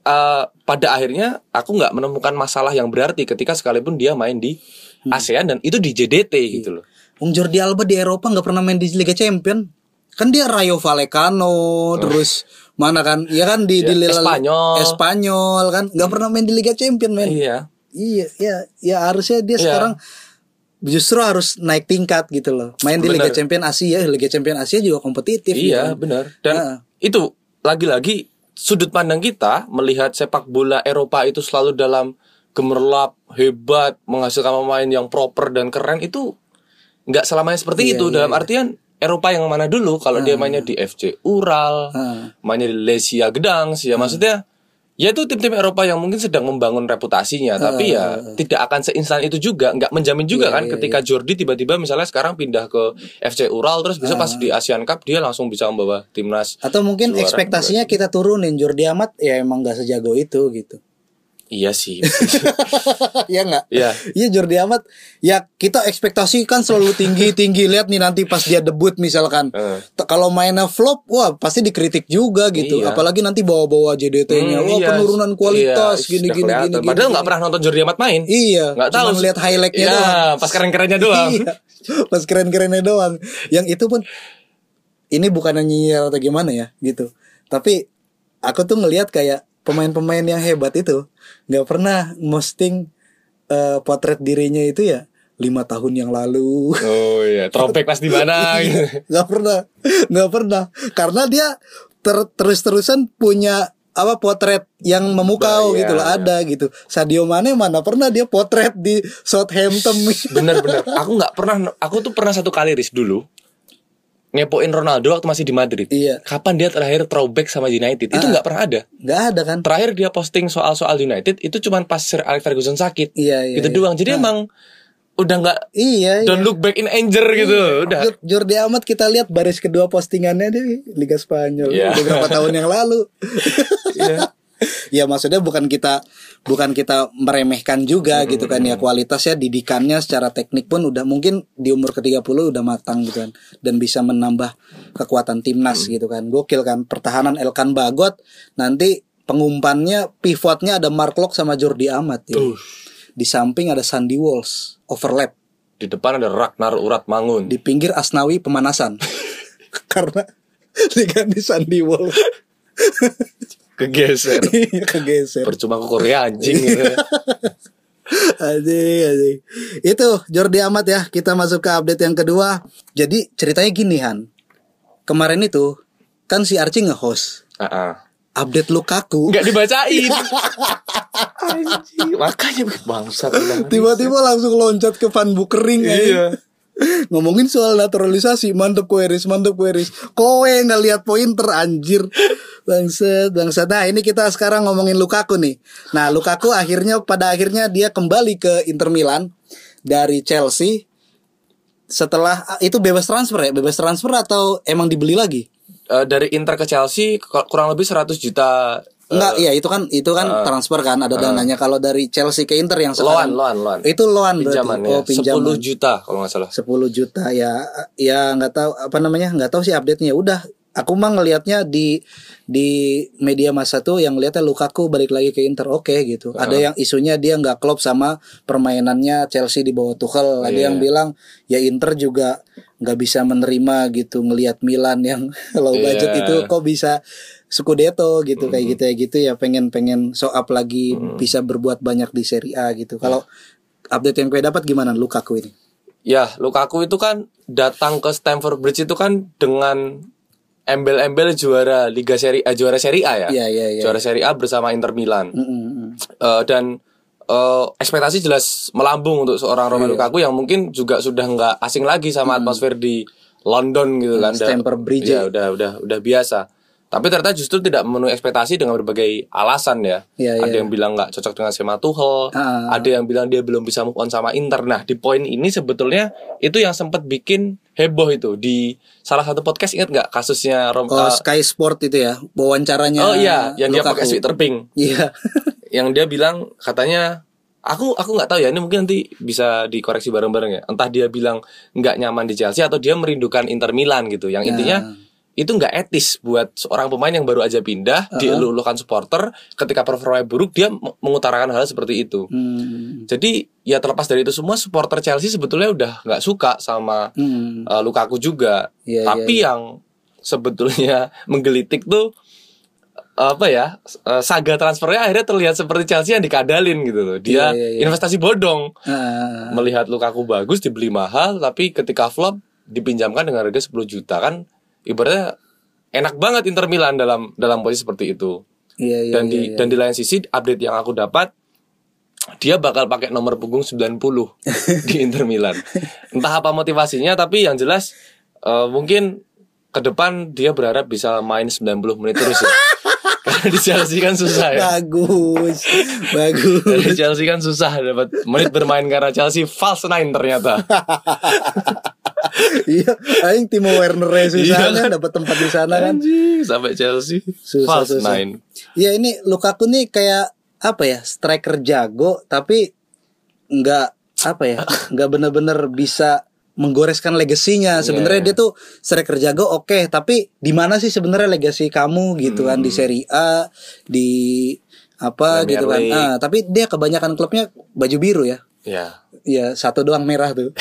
[SPEAKER 1] eh, pada akhirnya aku nggak menemukan masalah yang berarti ketika sekalipun dia main di
[SPEAKER 2] Hmm.
[SPEAKER 1] ASEAN dan itu di JDT gitu
[SPEAKER 2] Iya.
[SPEAKER 1] loh.
[SPEAKER 2] Wong Jordi Alba di Eropa nggak pernah main di Liga Champion. Kan dia Rayo Vallecano terus mana kan? Iya kan di
[SPEAKER 1] Oh.
[SPEAKER 2] di
[SPEAKER 1] Iya,
[SPEAKER 2] Lila-
[SPEAKER 1] Espanyol.
[SPEAKER 2] Espanyol kan nggak pernah main di Liga Champion men.
[SPEAKER 1] Iya.
[SPEAKER 2] Iya, iya, ya harusnya dia
[SPEAKER 1] Iya.
[SPEAKER 2] sekarang justru harus naik tingkat gitu loh. Main di Liga
[SPEAKER 1] Bener.
[SPEAKER 2] Champion Asia, Liga Champion Asia juga kompetitif.
[SPEAKER 1] Iya,
[SPEAKER 2] gitu.
[SPEAKER 1] benar. Dan
[SPEAKER 2] Heeh.
[SPEAKER 1] itu lagi-lagi sudut pandang kita melihat sepak bola Eropa itu selalu dalam gemerlap, hebat, menghasilkan pemain yang proper dan keren itu nggak selamanya seperti
[SPEAKER 2] Iya,
[SPEAKER 1] itu
[SPEAKER 2] iya, Ah.
[SPEAKER 1] dalam artian Eropa yang mana dulu kalau dia mainnya di FC Ural,
[SPEAKER 2] Heeh.
[SPEAKER 1] mainnya di Lesia Gdansk
[SPEAKER 2] Ah.
[SPEAKER 1] ya maksudnya ya itu tim-tim Eropa yang mungkin sedang membangun reputasinya tapi ya tidak akan seinstan itu juga nggak menjamin juga
[SPEAKER 2] Ah. Iya,
[SPEAKER 1] kan
[SPEAKER 2] iya,
[SPEAKER 1] ketika Jordi tiba-tiba misalnya sekarang pindah ke FC Ural terus bisa pas di Asian Cup dia langsung bisa membawa timnas
[SPEAKER 2] Ah. Atau mungkin
[SPEAKER 1] Juara
[SPEAKER 2] ekspektasinya kita turunin Jordi Amat ya emang gak sejago itu gitu.
[SPEAKER 1] iya sih
[SPEAKER 2] Iya nggak?
[SPEAKER 1] Iya.
[SPEAKER 2] Iya Jordi Amat. Ya kita ekspektasi kan selalu tinggi tinggi. Lihat nih nanti pas dia debut misalkan.
[SPEAKER 1] Eh.
[SPEAKER 2] T- Kalau mainnya flop, wah pasti dikritik juga gitu.
[SPEAKER 1] Iya.
[SPEAKER 2] Apalagi nanti bawa-bawa JDT-nya.
[SPEAKER 1] Hmm,
[SPEAKER 2] wah
[SPEAKER 1] iya.
[SPEAKER 2] penurunan
[SPEAKER 1] Iya,
[SPEAKER 2] kualitas
[SPEAKER 1] sudah
[SPEAKER 2] gini-gini
[SPEAKER 1] kelihatan.
[SPEAKER 2] gini, gini,
[SPEAKER 1] padahal
[SPEAKER 2] gini.
[SPEAKER 1] nggak pernah nonton Jordi Amat main
[SPEAKER 2] Iya.
[SPEAKER 1] nggak tahu
[SPEAKER 2] Cuman lihat highlightnya
[SPEAKER 1] Iya,
[SPEAKER 2] doang.
[SPEAKER 1] pas keren-kerennya doang
[SPEAKER 2] Iya. Pas keren-kerennya doang. Yang itu pun ini bukan nyinyir atau gimana ya gitu. Tapi aku tuh ngelihat kayak pemain-pemain yang hebat itu nggak pernah posting eh, potret dirinya itu ya lima tahun yang lalu.
[SPEAKER 1] oh iya throwback pas di mana gitu.
[SPEAKER 2] nggak pernah, nggak pernah. Karena dia ter- terus-terusan punya apa potret yang memukau
[SPEAKER 1] Iya,
[SPEAKER 2] gitu loh
[SPEAKER 1] iya.
[SPEAKER 2] ada gitu. Sadio Mane mana pernah dia potret di Southampton.
[SPEAKER 1] bener-bener aku nggak pernah aku tuh pernah satu kali ris dulu ngepoin Ronaldo waktu masih di Madrid
[SPEAKER 2] Iya.
[SPEAKER 1] kapan dia terakhir throwback sama United itu
[SPEAKER 2] Ah.
[SPEAKER 1] nggak pernah ada
[SPEAKER 2] nggak ada kan?
[SPEAKER 1] terakhir dia posting soal-soal United itu cuman pas Sir Alex Ferguson sakit
[SPEAKER 2] Iya, iya,
[SPEAKER 1] gitu
[SPEAKER 2] iya.
[SPEAKER 1] doang jadi emang udah nggak
[SPEAKER 2] Iya, iya.
[SPEAKER 1] don't look back in anger gitu udah
[SPEAKER 2] Jor- Jordi Amat kita lihat baris kedua postingannya di Liga Spanyol
[SPEAKER 1] Iya.
[SPEAKER 2] beberapa tahun yang lalu.
[SPEAKER 1] Iya.
[SPEAKER 2] ya maksudnya bukan kita bukan kita meremehkan juga gitu kan ya kualitasnya didikannya secara teknik pun udah mungkin di umur ke-30 udah matang gitu kan dan bisa menambah kekuatan timnas gitu kan. Gokil kan pertahanan Elkan Bagot nanti pengumpannya pivotnya ada Mark Lok sama Jordi Amat ya. Di samping ada Sandy Walls overlap
[SPEAKER 1] di depan ada Ragnar Urat Mangun
[SPEAKER 2] di pinggir Asnawi pemanasan karena diganti Sandy Wall
[SPEAKER 1] kegeser
[SPEAKER 2] Iya, kegeser
[SPEAKER 1] percuma ke Korea anjing gitu.
[SPEAKER 2] Anjing, anjing. itu Jordi Amat ya kita masuk ke update yang kedua jadi ceritanya gini Han kemarin itu kan si Archie nge-host
[SPEAKER 1] Ah, ah.
[SPEAKER 2] update Lukaku
[SPEAKER 1] nggak dibacain anjing. makanya bangsa
[SPEAKER 2] tiba-tiba langsung loncat ke Van Bukering anjing.
[SPEAKER 1] ya. iya
[SPEAKER 2] Ngomongin soal naturalisasi, mantep kueris, mantep kueris. Kowe nggak lihat pointer anjir. Bangset, bangset. Nah, ini kita sekarang ngomongin Lukaku nih. Nah, Lukaku akhirnya pada akhirnya dia kembali ke Inter Milan dari Chelsea. Setelah itu bebas transfer ya, bebas transfer atau emang dibeli lagi?
[SPEAKER 1] Eh, dari Inter ke Chelsea ku- kurang lebih 100 juta eh,
[SPEAKER 2] Enggak, ya itu kan itu kan transfer kan ada dananya kalau dari Chelsea ke Inter yang
[SPEAKER 1] loan,
[SPEAKER 2] sekarang.
[SPEAKER 1] loan, loan.
[SPEAKER 2] Itu loan berarti.
[SPEAKER 1] pinjaman ya.
[SPEAKER 2] Oh, pinjaman.
[SPEAKER 1] 10 juta kalau nggak salah.
[SPEAKER 2] 10 juta ya ya nggak tahu apa namanya nggak tahu sih update nya udah aku mah ngelihatnya di di media masa tuh yang lihatnya Lukaku balik lagi ke Inter oke gitu ada yang isunya dia nggak klop sama permainannya Chelsea di bawah Tuchel ada
[SPEAKER 1] Iya.
[SPEAKER 2] yang bilang ya Inter juga nggak bisa menerima gitu ngelihat Milan yang low budget
[SPEAKER 1] Iya.
[SPEAKER 2] itu kok bisa Scudetto gitu kayak gitu ya gitu ya pengen pengen show up lagi bisa berbuat banyak di Serie A gitu kalau update yang gue dapat gimana Lukaku ini
[SPEAKER 1] Ya, Lukaku itu kan datang ke Stamford Bridge itu kan dengan embel-embel juara Liga Seri A, juara Serie A ya.
[SPEAKER 2] Iya, iya, iya.
[SPEAKER 1] Juara Serie A bersama Inter Milan.
[SPEAKER 2] Mm, mm, mm.
[SPEAKER 1] Eh, dan eh, ekspektasi jelas melambung untuk seorang
[SPEAKER 2] Iya.
[SPEAKER 1] Romelu Lukaku yang mungkin juga sudah nggak asing lagi sama atmosfer di London gitu kan. Udah-
[SPEAKER 2] Hmm. Stamford Bridge.
[SPEAKER 1] Iya, udah udah udah biasa. Tapi ternyata justru tidak memenuhi ekspektasi dengan berbagai alasan ya.
[SPEAKER 2] Iya,
[SPEAKER 1] ada
[SPEAKER 2] iya.
[SPEAKER 1] yang bilang nggak cocok dengan skema Tuchel,
[SPEAKER 2] Ah.
[SPEAKER 1] ada yang bilang dia belum bisa move on sama Inter. Nah, di poin ini sebetulnya itu yang sempat bikin heboh itu di salah satu podcast ingat nggak kasusnya Rom
[SPEAKER 2] Oh,
[SPEAKER 1] eh,
[SPEAKER 2] Sky Sport itu ya, wawancaranya.
[SPEAKER 1] Oh iya, yang dia
[SPEAKER 2] Lukaku.
[SPEAKER 1] pakai sweater pink
[SPEAKER 2] Iya.
[SPEAKER 1] yang dia bilang katanya aku aku nggak tahu ya ini mungkin nanti bisa dikoreksi bareng-bareng ya entah dia bilang nggak nyaman di Chelsea atau dia merindukan Inter Milan gitu yang intinya itu nggak etis buat seorang pemain yang baru aja pindah dieluh-eluhkan supporter ketika performanya buruk dia me- mengutarakan hal seperti itu
[SPEAKER 2] Hmm.
[SPEAKER 1] jadi ya terlepas dari itu semua supporter Chelsea sebetulnya udah nggak suka sama
[SPEAKER 2] Hmm.
[SPEAKER 1] eh, Lukaku juga
[SPEAKER 2] Iya,
[SPEAKER 1] tapi yang sebetulnya menggelitik tuh apa ya eh, saga transfernya akhirnya terlihat seperti Chelsea yang dikadalin gitu loh. Dia
[SPEAKER 2] Iya, iya, iya.
[SPEAKER 1] investasi bodong.
[SPEAKER 2] Ah,
[SPEAKER 1] Melihat Lukaku bagus dibeli mahal tapi ketika flop dipinjamkan dengan harga 10 juta kan ibaratnya enak banget Inter Milan dalam dalam posisi seperti itu.
[SPEAKER 2] iya iya
[SPEAKER 1] dan
[SPEAKER 2] iya,
[SPEAKER 1] di
[SPEAKER 2] iya.
[SPEAKER 1] dan di lain sisi update yang aku dapat dia bakal pakai nomor punggung 90 di Inter Milan. Entah apa motivasinya tapi yang jelas eh, mungkin ke depan dia berharap bisa main 90 menit terus ya. Karena di Chelsea kan susah ya.
[SPEAKER 2] bagus bagus
[SPEAKER 1] Dari Chelsea kan susah dapat menit bermain karena Chelsea false nine ternyata.
[SPEAKER 2] iya aing Timo Werner susah
[SPEAKER 1] Iya
[SPEAKER 2] kan
[SPEAKER 1] kan?
[SPEAKER 2] dapat tempat di sana kan
[SPEAKER 1] Anjing, sampai Chelsea
[SPEAKER 2] susah
[SPEAKER 1] false
[SPEAKER 2] susah
[SPEAKER 1] nine.
[SPEAKER 2] iya ini Lukaku nih kayak apa ya striker jago tapi nggak apa ya nggak bener-bener bisa menggoreskan legasinya sebenarnya
[SPEAKER 1] Iya, iya.
[SPEAKER 2] dia tuh striker jago oke tapi di mana sih sebenarnya legasi kamu gitu kan di Serie A di
[SPEAKER 1] Hmm.
[SPEAKER 2] apa
[SPEAKER 1] Premier
[SPEAKER 2] gitu kan
[SPEAKER 1] League.
[SPEAKER 2] Ah, tapi dia kebanyakan klubnya baju biru ya
[SPEAKER 1] Ya.
[SPEAKER 2] Iya satu doang merah tuh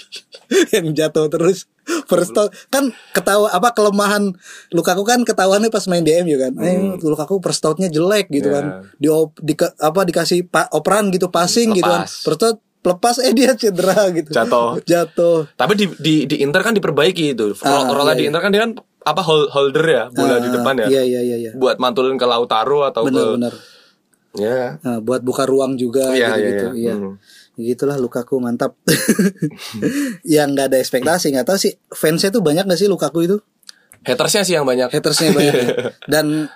[SPEAKER 2] yang jatuh terus first touch. kan ketawa apa kelemahan Lukaku kan ketahuannya pas main DM ya kan eh, Lukaku first touch-nya jelek gitu
[SPEAKER 1] Hmm. Iya.
[SPEAKER 2] kan di, di apa dikasih pa- operan gitu passing gitu kan
[SPEAKER 1] Lepas.
[SPEAKER 2] first touch, lepas eh dia cedera gitu
[SPEAKER 1] Jatuh.
[SPEAKER 2] jatuh
[SPEAKER 1] Tapi di di di Inter kan diperbaiki itu.
[SPEAKER 2] Ah,
[SPEAKER 1] Rol- Rola
[SPEAKER 2] iya,
[SPEAKER 1] di
[SPEAKER 2] iya.
[SPEAKER 1] Inter kan dia kan apa hol- holder ya, bola di
[SPEAKER 2] Ah,
[SPEAKER 1] depan ya.
[SPEAKER 2] iya iya iya iya
[SPEAKER 1] buat mantulin ke Lautaro atau
[SPEAKER 2] benar
[SPEAKER 1] ke
[SPEAKER 2] benar
[SPEAKER 1] ya
[SPEAKER 2] Nah, buat buka ruang juga
[SPEAKER 1] Iya,
[SPEAKER 2] gitu,
[SPEAKER 1] iya,
[SPEAKER 2] gitu.
[SPEAKER 1] iya.
[SPEAKER 2] Iya.
[SPEAKER 1] Hmm.
[SPEAKER 2] Gitulah Lukaku mantap. yang nggak ada ekspektasi, nggak tahu sih fansnya tuh banyak gak sih Lukaku itu?
[SPEAKER 1] hatersnya sih yang banyak
[SPEAKER 2] Hatersnya banyak. ya. Dan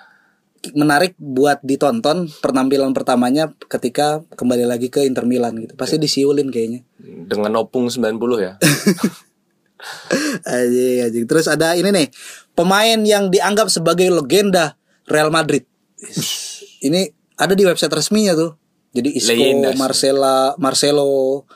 [SPEAKER 2] menarik buat ditonton penampilan pertamanya ketika kembali lagi ke Inter Milan gitu. Pasti
[SPEAKER 1] Iya.
[SPEAKER 2] disiulin kayaknya.
[SPEAKER 1] dengan opung 90 ya
[SPEAKER 2] Anjing, anjing. Terus ada ini nih, pemain yang dianggap sebagai legenda Real Madrid. Ini ada di website resminya tuh. Jadi Isco,
[SPEAKER 1] Legenda sih.
[SPEAKER 2] Marcela, Marcelo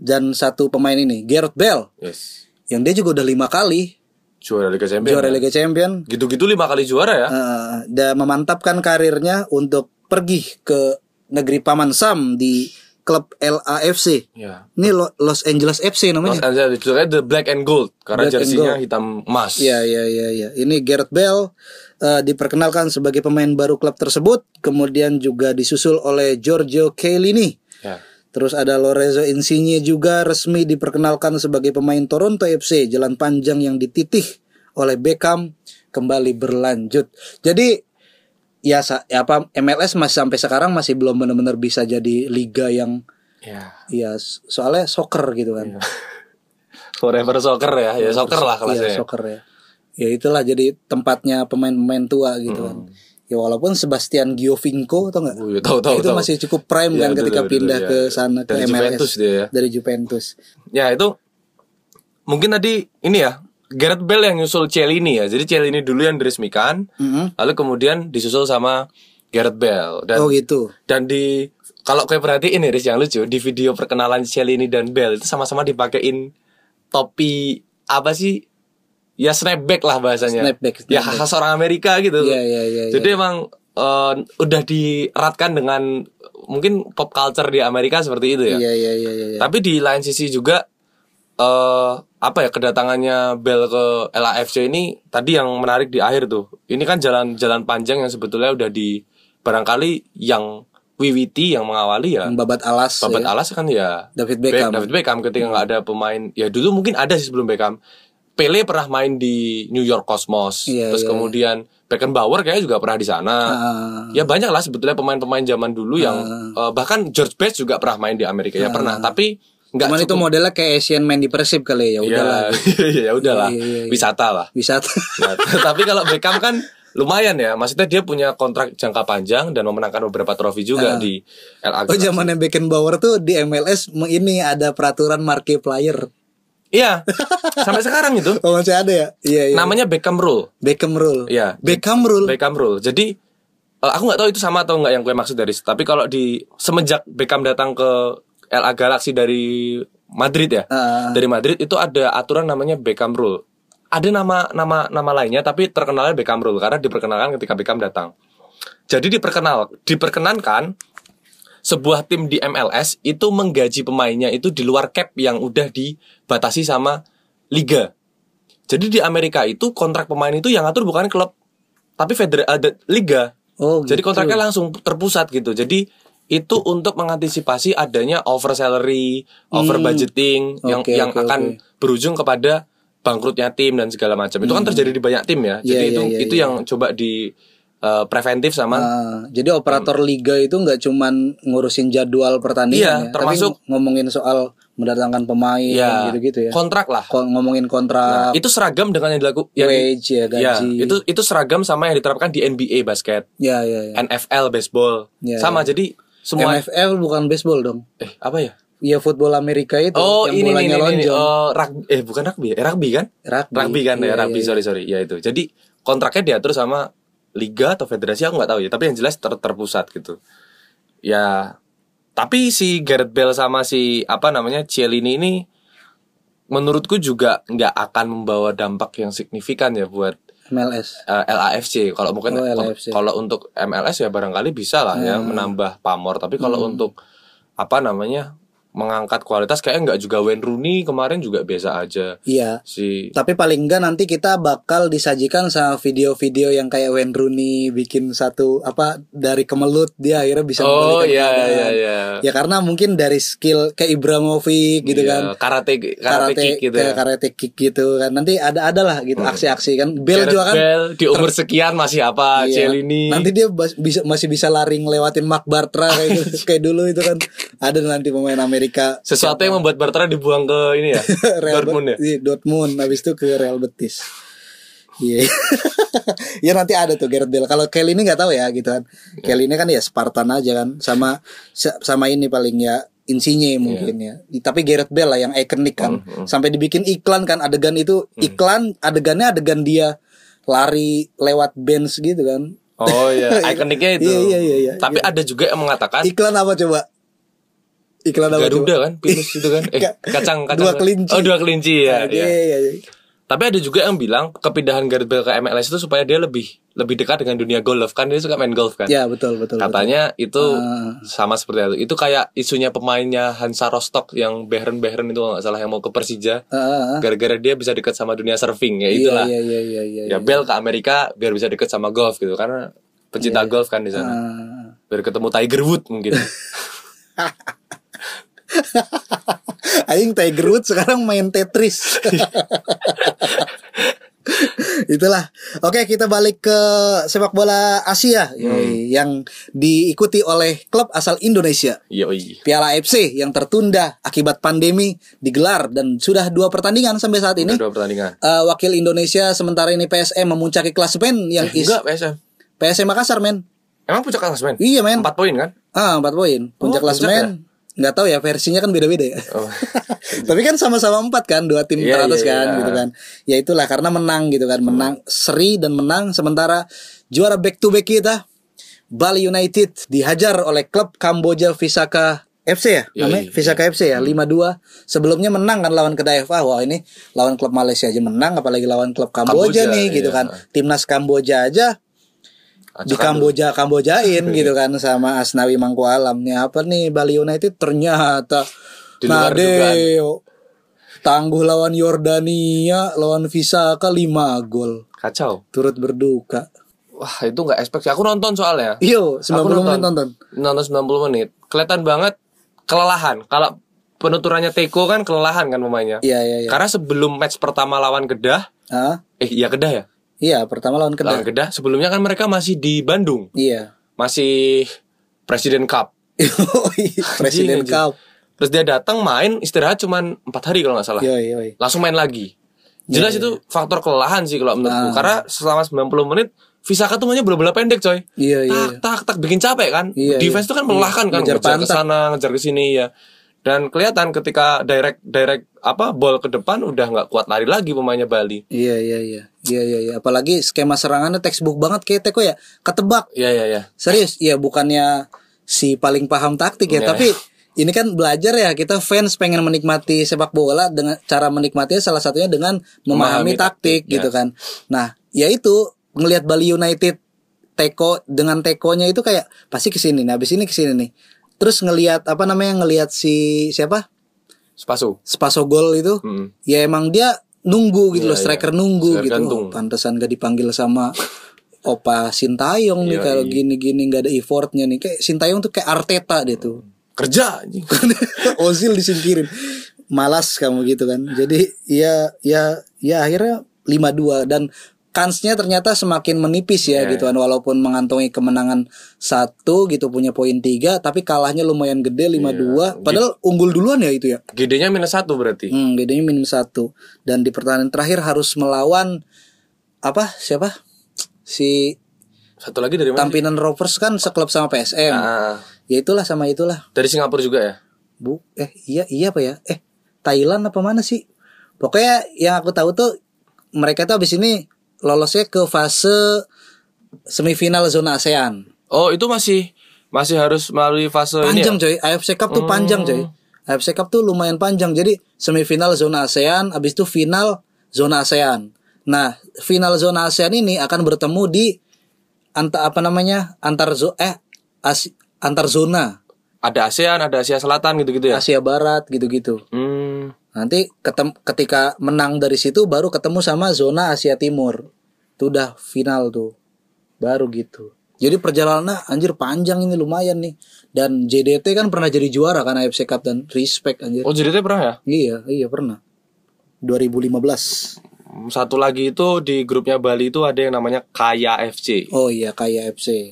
[SPEAKER 2] dan satu pemain ini, Gareth Bale,
[SPEAKER 1] yes
[SPEAKER 2] yang dia juga udah lima kali
[SPEAKER 1] juara Liga Champions
[SPEAKER 2] juara Liga Champion.
[SPEAKER 1] gitu-gitu lima kali juara ya
[SPEAKER 2] Eh, dan memantapkan karirnya untuk pergi ke negeri paman Sam di klub LAFC.
[SPEAKER 1] ya
[SPEAKER 2] Ini Lo- Los Angeles FC namanya.
[SPEAKER 1] Los Angeles itu kan the black and gold karena
[SPEAKER 2] Black and
[SPEAKER 1] jersinya hitam emas
[SPEAKER 2] Iya iya iya iya. Ini Gareth Bale eh, diperkenalkan sebagai pemain baru klub tersebut, kemudian juga disusul oleh Giorgio Chiellini.
[SPEAKER 1] Ya.
[SPEAKER 2] Terus ada Lorenzo Insigne juga resmi diperkenalkan sebagai pemain Toronto FC. Jalan panjang yang dititih oleh Beckham kembali berlanjut. Jadi ya sa- ya apa MLS masih sampai sekarang masih belum benar-benar bisa jadi liga yang
[SPEAKER 1] Ya.
[SPEAKER 2] ya so- soalnya soccer gitu kan.
[SPEAKER 1] Iya, forever soccer ya ya soccer lah
[SPEAKER 2] Iya,
[SPEAKER 1] kelasnya
[SPEAKER 2] soccer ya. Ya itulah jadi tempatnya pemain-pemain tua gitu kan.
[SPEAKER 1] Hmm.
[SPEAKER 2] Ya walaupun Sebastian Giovinco atau enggak?
[SPEAKER 1] Oh, iya, tahu, tahu,
[SPEAKER 2] itu
[SPEAKER 1] tahu.
[SPEAKER 2] masih cukup prime
[SPEAKER 1] Iya,
[SPEAKER 2] kan
[SPEAKER 1] dulu,
[SPEAKER 2] ketika
[SPEAKER 1] dulu,
[SPEAKER 2] pindah
[SPEAKER 1] iya.
[SPEAKER 2] ke sana ke
[SPEAKER 1] Dari
[SPEAKER 2] MLS
[SPEAKER 1] Juventus dia ya.
[SPEAKER 2] dari Juventus.
[SPEAKER 1] ya itu mungkin tadi ini ya Gareth Bale yang nyusul Celini ya jadi Celini dulu yang diresmikan
[SPEAKER 2] Mhm.
[SPEAKER 1] lalu kemudian disusul sama Gareth Bale dan
[SPEAKER 2] Oh gitu.
[SPEAKER 1] Dan di kalau kue perhatiin ya Riz yang lucu di video perkenalan Shelly dan Bell itu sama-sama dipakein topi apa sih? Ya snapback lah bahasanya.
[SPEAKER 2] Snapback,
[SPEAKER 1] Ya
[SPEAKER 2] snapback.
[SPEAKER 1] khas orang Amerika gitu.
[SPEAKER 2] Iya, iya, iya,
[SPEAKER 1] Jadi emang eh, udah dieratkan dengan mungkin pop culture di Amerika seperti itu ya.
[SPEAKER 2] Iya iya iya iya. iya.
[SPEAKER 1] Tapi di lain sisi juga eh apa ya kedatangannya Bell ke LAFC ini tadi yang menarik di akhir tuh. Ini kan jalan-jalan panjang yang sebetulnya udah di barangkali yang wiwiti yang mengawali ya.
[SPEAKER 2] Babat Alas.
[SPEAKER 1] Babat
[SPEAKER 2] ya.
[SPEAKER 1] Alas kan ya
[SPEAKER 2] David Beckham.
[SPEAKER 1] David Beckham ketika nggak ada pemain ya dulu mungkin ada sih sebelum Beckham. Pele pernah main di New York Cosmos.
[SPEAKER 2] Iya,
[SPEAKER 1] Terus
[SPEAKER 2] iya.
[SPEAKER 1] kemudian Beckenbauer kayaknya juga pernah di sana.
[SPEAKER 2] Ah.
[SPEAKER 1] Ya banyak lah sebetulnya pemain-pemain zaman dulu yang eh, bahkan George Best juga pernah main di Amerika ya pernah tapi nggak
[SPEAKER 2] Ah. Cuman itu modelnya kayak Asian Man di Persib kali
[SPEAKER 1] ya
[SPEAKER 2] ya. Udahlah.
[SPEAKER 1] ya udahlah
[SPEAKER 2] Iya, iya, iya.
[SPEAKER 1] wisata lah.
[SPEAKER 2] Wisata.
[SPEAKER 1] Nah, tapi kalau Beckham kan lumayan ya maksudnya dia punya kontrak jangka panjang dan memenangkan beberapa trofi juga di LA.
[SPEAKER 2] Ah. Oh zamannya Beckenbauer tuh di MLS ini ada peraturan markiplier.
[SPEAKER 1] Iya sampai sekarang itu
[SPEAKER 2] Oh masih ada ya? Iya iya.
[SPEAKER 1] namanya Beckham Rule.
[SPEAKER 2] Beckham Rule.
[SPEAKER 1] Nah. Iya.
[SPEAKER 2] Beckham Rule.
[SPEAKER 1] Beckham Rule. Jadi eh, aku nggak tahu itu sama atau nggak yang gue maksud dari. Tapi kalau di semenjak Beckham datang ke LA Galaxy dari Madrid ya,
[SPEAKER 2] Ah.
[SPEAKER 1] dari Madrid itu ada aturan namanya Beckham Rule. Ada nama nama nama lainnya tapi terkenalnya Beckham Rule karena diperkenalkan ketika Beckham datang. Jadi diperkenal diperkenankan sebuah tim di MLS itu menggaji pemainnya itu di luar cap yang udah dibatasi sama liga. Jadi di Amerika itu kontrak pemain itu yang ngatur bukan klub, tapi feder ada liga.
[SPEAKER 2] Oh,
[SPEAKER 1] Jadi
[SPEAKER 2] gitu.
[SPEAKER 1] kontraknya langsung terpusat gitu. Jadi itu untuk mengantisipasi adanya over salary, over budgeting yang
[SPEAKER 2] Hmm. Oke,
[SPEAKER 1] yang
[SPEAKER 2] oke,
[SPEAKER 1] akan berujung kepada bangkrutnya tim dan segala macam. Itu kan terjadi di banyak tim ya. Jadi
[SPEAKER 2] Hmm. Iya,
[SPEAKER 1] itu
[SPEAKER 2] iya, iya,
[SPEAKER 1] itu yang coba di eh, preventif sama
[SPEAKER 2] Ah, jadi operator liga itu nggak cuman ngurusin jadwal pertandingan,
[SPEAKER 1] Hmm. Iya,
[SPEAKER 2] ya,
[SPEAKER 1] termasuk-
[SPEAKER 2] tapi ngomongin soal mendatangkan pemain
[SPEAKER 1] ya
[SPEAKER 2] gitu-gitu ya.
[SPEAKER 1] kontrak lah.
[SPEAKER 2] Ko- ngomongin kontrak,
[SPEAKER 1] Itu seragam dengan Nah, yang dilakukan
[SPEAKER 2] wage ya gaji.
[SPEAKER 1] Ya, itu itu seragam sama yang diterapkan di NBA basket,
[SPEAKER 2] ya ya ya.
[SPEAKER 1] NFL baseball.
[SPEAKER 2] Ya,
[SPEAKER 1] sama jadi semua
[SPEAKER 2] NFL bukan baseball dong.
[SPEAKER 1] eh apa ya?
[SPEAKER 2] Iya football Amerika itu
[SPEAKER 1] Oh,
[SPEAKER 2] yang
[SPEAKER 1] ini nih,
[SPEAKER 2] bolanya
[SPEAKER 1] ini, ini,
[SPEAKER 2] lonjong.
[SPEAKER 1] Oh, rug- eh bukan rugby, ya? eh, rugby kan?
[SPEAKER 2] Rugby.
[SPEAKER 1] Rugby kan
[SPEAKER 2] Iya,
[SPEAKER 1] ya, rugby,
[SPEAKER 2] iya,
[SPEAKER 1] sorry sorry, ya itu. Jadi kontraknya diatur sama liga atau federasi aku nggak tahu ya, tapi yang jelas ter- terpusat gitu. Ya, tapi si Gareth Bale sama si apa namanya Cielini ini menurutku juga nggak akan membawa dampak yang signifikan ya buat
[SPEAKER 2] MLS.
[SPEAKER 1] eh, LAFC kalau mungkin
[SPEAKER 2] Oh,
[SPEAKER 1] kalau-
[SPEAKER 2] LAFC.
[SPEAKER 1] kalau untuk MLS ya barangkali bisa lah ya
[SPEAKER 2] Hmm.
[SPEAKER 1] menambah pamor tapi kalau untuk apa namanya mengangkat kualitas kayaknya nggak juga Wayne Rooney kemarin juga biasa aja
[SPEAKER 2] Iya.
[SPEAKER 1] si
[SPEAKER 2] Tapi paling enggak nanti kita bakal disajikan sama video-video yang kayak Wayne Rooney bikin satu apa dari kemelut dia akhirnya bisa
[SPEAKER 1] oh
[SPEAKER 2] membalikan
[SPEAKER 1] iya
[SPEAKER 2] keadaan.
[SPEAKER 1] iya iya
[SPEAKER 2] Ya karena mungkin dari skill kayak Ibrahimovic gitu
[SPEAKER 1] Iya,
[SPEAKER 2] kan.
[SPEAKER 1] karate karate, kick gitu
[SPEAKER 2] kayak
[SPEAKER 1] ya Hmm.
[SPEAKER 2] karate kick gitu kan. Nanti ada adalah gitu aksi-aksi kan. Bel
[SPEAKER 1] Gareth
[SPEAKER 2] juga kan.
[SPEAKER 1] Bale, di umur sekian masih apa
[SPEAKER 2] Iya.
[SPEAKER 1] Cielini
[SPEAKER 2] Nanti dia bas- bisa masih bisa lari ngelewatin Mark Bartra kayak gitu, kayak dulu itu kan. Ada nanti pemain Amerika
[SPEAKER 1] sesuatu yang membuat Bartra dibuang ke ini ya
[SPEAKER 2] Real
[SPEAKER 1] Dortmund ya
[SPEAKER 2] Bet- iya, Dortmund habis itu ke Real Betis. Iya. ya nanti ada tuh Gareth Bale. Kalau Kelly ini nggak tahu ya gitu kan. Kelly ini kan ya Spartan aja kan sama sa- sama ini paling ya
[SPEAKER 1] Iya.
[SPEAKER 2] Insigne mungkin ya. Tapi Gareth Bale lah yang ikonik kan.
[SPEAKER 1] Mm-hmm.
[SPEAKER 2] Sampai dibikin iklan kan adegan itu iklan adegannya adegan dia lari lewat bench gitu kan.
[SPEAKER 1] oh iya ikoniknya itu
[SPEAKER 2] Iya, iya, iya, iya.
[SPEAKER 1] tapi ada juga yang mengatakan
[SPEAKER 2] Iklan apa coba? Iklan apa
[SPEAKER 1] Garuda
[SPEAKER 2] coba?
[SPEAKER 1] kan, pinus itu kan, eh,
[SPEAKER 2] Ka-
[SPEAKER 1] kacang, kacang.
[SPEAKER 2] dua kelinci.
[SPEAKER 1] Oh dua kelinci ya. ya.
[SPEAKER 2] Iya, iya, iya.
[SPEAKER 1] Tapi ada juga yang bilang kepindahan Gareth Bale ke MLS itu supaya dia lebih lebih dekat dengan dunia golf kan dia suka main golf kan.
[SPEAKER 2] Ya, betul betul. betul.
[SPEAKER 1] Katanya itu
[SPEAKER 2] Ah.
[SPEAKER 1] sama seperti itu. Itu kayak isunya pemainnya Hansa Rostock yang Beren-Beren itu kalau nggak salah yang mau ke Persija.
[SPEAKER 2] Ah, ah, ah.
[SPEAKER 1] Gara-gara dia bisa dekat sama dunia surfing ya itulah.
[SPEAKER 2] Iya, iya, iya, iya, iya.
[SPEAKER 1] Ya Bale ke Amerika biar bisa dekat sama golf gitu karena pecinta golf kan di sana.
[SPEAKER 2] Iya, Ah.
[SPEAKER 1] Biar ketemu Tiger Woods mungkin.
[SPEAKER 2] Aing Tiger Woods sekarang main Tetris. Itulah. Oke, kita balik ke sepak bola Asia
[SPEAKER 1] Hmm.
[SPEAKER 2] yoi, yang diikuti oleh klub asal Indonesia.
[SPEAKER 1] Yoi.
[SPEAKER 2] Piala AFC yang tertunda akibat pandemi digelar dan sudah dua pertandingan sampai saat ini.
[SPEAKER 1] Dua pertandingan.
[SPEAKER 2] Eh, wakil Indonesia sementara ini PSM memuncaki klasemen yang is
[SPEAKER 1] Eh, Enggak, PSM.
[SPEAKER 2] PSM Makassar men.
[SPEAKER 1] Emang puncak klasemen?
[SPEAKER 2] Iya men.
[SPEAKER 1] Empat poin kan?
[SPEAKER 2] Ah, 4 poin. Puncak
[SPEAKER 1] Oh, puncak
[SPEAKER 2] klasemen. Nggak tahu ya versinya kan beda-beda ya.
[SPEAKER 1] Oh.
[SPEAKER 2] Tapi kan sama-sama empat kan, dua tim
[SPEAKER 1] Iya, iya,
[SPEAKER 2] teratas kan,
[SPEAKER 1] iya.
[SPEAKER 2] gitu kan. Ya itulah karena menang gitu kan, menang seri dan menang sementara juara back to back kita Bali United dihajar oleh klub Kamboja Visaka FC ya,
[SPEAKER 1] Yoi.
[SPEAKER 2] namanya
[SPEAKER 1] iya.
[SPEAKER 2] Visaka FC ya, 5-2. Sebelumnya menang kan lawan Kedai FA. Wah, ini lawan klub Malaysia aja menang apalagi lawan klub Kamboja,
[SPEAKER 1] Kamboja,
[SPEAKER 2] nih gitu
[SPEAKER 1] iya.
[SPEAKER 2] kan. Timnas Kamboja aja di Kamboja Kambojain
[SPEAKER 1] iya.
[SPEAKER 2] gitu kan sama Asnawi Mangkualam nih apa nih Bali United ternyata
[SPEAKER 1] Di luar
[SPEAKER 2] Nadeo tangguh lawan Yordania lawan Visaka 5 gol
[SPEAKER 1] Kacau.
[SPEAKER 2] turut berduka
[SPEAKER 1] Wah, itu nggak expect sih. Aku nonton soalnya.
[SPEAKER 2] Iyo 90
[SPEAKER 1] Aku
[SPEAKER 2] menit nonton
[SPEAKER 1] Nonton 90 menit. Kelihatan banget kelelahan. Kalau penuturannya Teko kan kelelahan kan pemainnya.
[SPEAKER 2] Iya iya iya
[SPEAKER 1] Karena sebelum match pertama lawan Kedah,
[SPEAKER 2] Hah?
[SPEAKER 1] eh iya Kedah ya?
[SPEAKER 2] Iya pertama lawan
[SPEAKER 1] Lawan
[SPEAKER 2] Kedah
[SPEAKER 1] Kedah, sebelumnya kan mereka masih di Bandung.
[SPEAKER 2] Iya
[SPEAKER 1] Masih Presiden Cup.
[SPEAKER 2] Presiden
[SPEAKER 1] Anjing, anjing.
[SPEAKER 2] Cup
[SPEAKER 1] Terus dia datang main istirahat cuman empat hari kalau nggak salah.
[SPEAKER 2] Yo yo yo.
[SPEAKER 1] langsung main lagi. Jelas
[SPEAKER 2] Iya,
[SPEAKER 1] itu faktor kelelahan sih kalau
[SPEAKER 2] Ah.
[SPEAKER 1] menurutku. Karena selama 90 menit Visaka tuh mainnya bola-bola pendek, coy.
[SPEAKER 2] Iya, iya,
[SPEAKER 1] tak, tak, tak bikin capek kan.
[SPEAKER 2] Iya,
[SPEAKER 1] Defense itu kan melelahkan kan,
[SPEAKER 2] Ngejar
[SPEAKER 1] ngejar, ke
[SPEAKER 2] pantat.
[SPEAKER 1] sana, ngejar ke sini ya. Dan kelihatan ketika direct direct apa ball ke depan udah nggak kuat lari lagi pemainnya Bali.
[SPEAKER 2] Iya iya iya Iya iya iya Apalagi skema serangannya textbook banget kayak Teko ya Ketebak
[SPEAKER 1] Iya, iya, iya.
[SPEAKER 2] Serius, ya bukannya si paling paham taktik ya,
[SPEAKER 1] Iya.
[SPEAKER 2] tapi ini kan belajar ya kita fans pengen menikmati sepak bola dengan cara menikmatinya salah satunya dengan memahami,
[SPEAKER 1] Memahami taktik,
[SPEAKER 2] taktik, gitu
[SPEAKER 1] ya.
[SPEAKER 2] kan. Nah, ya itu ngelihat Bali United teko dengan tekonya itu kayak pasti kesini nih, habis ini kesini nih. Terus ngelihat apa namanya ngelihat si siapa?
[SPEAKER 1] Spasu.
[SPEAKER 2] Spasogol itu.
[SPEAKER 1] Mm-mm.
[SPEAKER 2] Ya emang dia nunggu gitu
[SPEAKER 1] Iya,
[SPEAKER 2] loh, striker
[SPEAKER 1] iya.
[SPEAKER 2] nunggu
[SPEAKER 1] Striker
[SPEAKER 2] gitu.
[SPEAKER 1] gantung.
[SPEAKER 2] Oh, pantesan gak dipanggil sama opa Sintayong nih
[SPEAKER 1] Yoi.
[SPEAKER 2] kalau gini-gini nggak ada effortnya nih kayak Sintayong tuh kayak Arteta dia tuh
[SPEAKER 1] kerja anjing.
[SPEAKER 2] Ozil disingkirin malas kamu gitu kan jadi ya ya ya akhirnya 5-2 dan kansnya ternyata semakin menipis ya
[SPEAKER 1] Iya.
[SPEAKER 2] gitu kan walaupun mengantongi kemenangan satu gitu punya poin tiga tapi kalahnya lumayan gede 5-2
[SPEAKER 1] Iya.
[SPEAKER 2] padahal unggul duluan ya itu ya
[SPEAKER 1] GD-nya minus satu berarti.
[SPEAKER 2] Hmm, bedanya minim satu. Dan di pertandingan terakhir harus melawan apa? Siapa? Si
[SPEAKER 1] Satu lagi dari mana?
[SPEAKER 2] tampinan Rovers kan seklub sama PSM.
[SPEAKER 1] Ah,
[SPEAKER 2] Ya itulah sama itulah.
[SPEAKER 1] dari Singapura juga ya.
[SPEAKER 2] Bu, eh iya iya apa ya? Eh Thailand apa mana sih? Pokoknya yang aku tahu tuh mereka tuh abis ini lolosnya ke fase semifinal zona ASEAN.
[SPEAKER 1] Oh itu masih masih harus melalui fase ini.
[SPEAKER 2] panjang
[SPEAKER 1] ya?
[SPEAKER 2] coy AFC Cup tuh panjang coy AFC Cup tuh lumayan panjang jadi semifinal zona ASEAN abis itu final zona ASEAN nah final zona ASEAN ini akan bertemu di anta apa namanya antar zo eh as- antar zona
[SPEAKER 1] Ada ASEAN, ada Asia Selatan gitu-gitu ya.
[SPEAKER 2] Asia Barat gitu-gitu
[SPEAKER 1] Hmm.
[SPEAKER 2] nanti ketem- ketika menang dari situ baru ketemu sama zona Asia Timur itu udah final tuh baru gitu jadi perjalanannya anjir panjang ini lumayan nih dan JDT kan pernah jadi juara kan AFC Cup dan respect anjir
[SPEAKER 1] Oh jadi itu pernah ya?
[SPEAKER 2] iya iya pernah 2015
[SPEAKER 1] Satu lagi itu di grupnya Bali itu ada yang namanya Kaya FC.
[SPEAKER 2] oh iya kayak AFC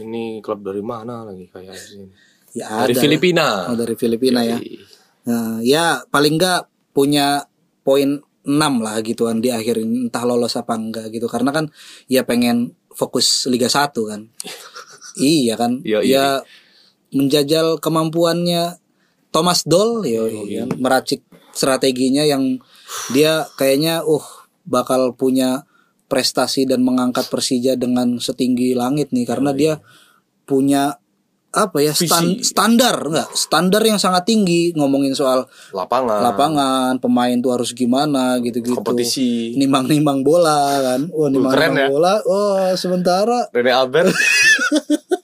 [SPEAKER 1] Ini klub dari mana lagi Kaya FC? ini?
[SPEAKER 2] ya ada
[SPEAKER 1] Dari
[SPEAKER 2] lah.
[SPEAKER 1] Filipina.
[SPEAKER 2] oh, dari Filipina ya
[SPEAKER 1] Iya.
[SPEAKER 2] Nah, ya paling enggak punya poin 6 lah gituan di akhir ini, entah lolos apa enggak gitu karena kan ya pengen fokus Liga 1 kan. iya kan?
[SPEAKER 1] Iya, iya.
[SPEAKER 2] ya menjajal kemampuannya Thomas Doll ya meracik strateginya yang dia kayaknya uh bakal punya prestasi dan mengangkat Persija dengan setinggi langit nih karena dia punya apa ya stan-
[SPEAKER 1] Visi.
[SPEAKER 2] standar enggak standar yang sangat tinggi ngomongin soal
[SPEAKER 1] Lapangan.
[SPEAKER 2] lapangan pemain tuh harus gimana gitu-gitu
[SPEAKER 1] Kompetisi.
[SPEAKER 2] nimbang-nimbang bola kan wah nimbang-nimbang
[SPEAKER 1] keren ya.
[SPEAKER 2] bola wah sementara
[SPEAKER 1] Rene Albert.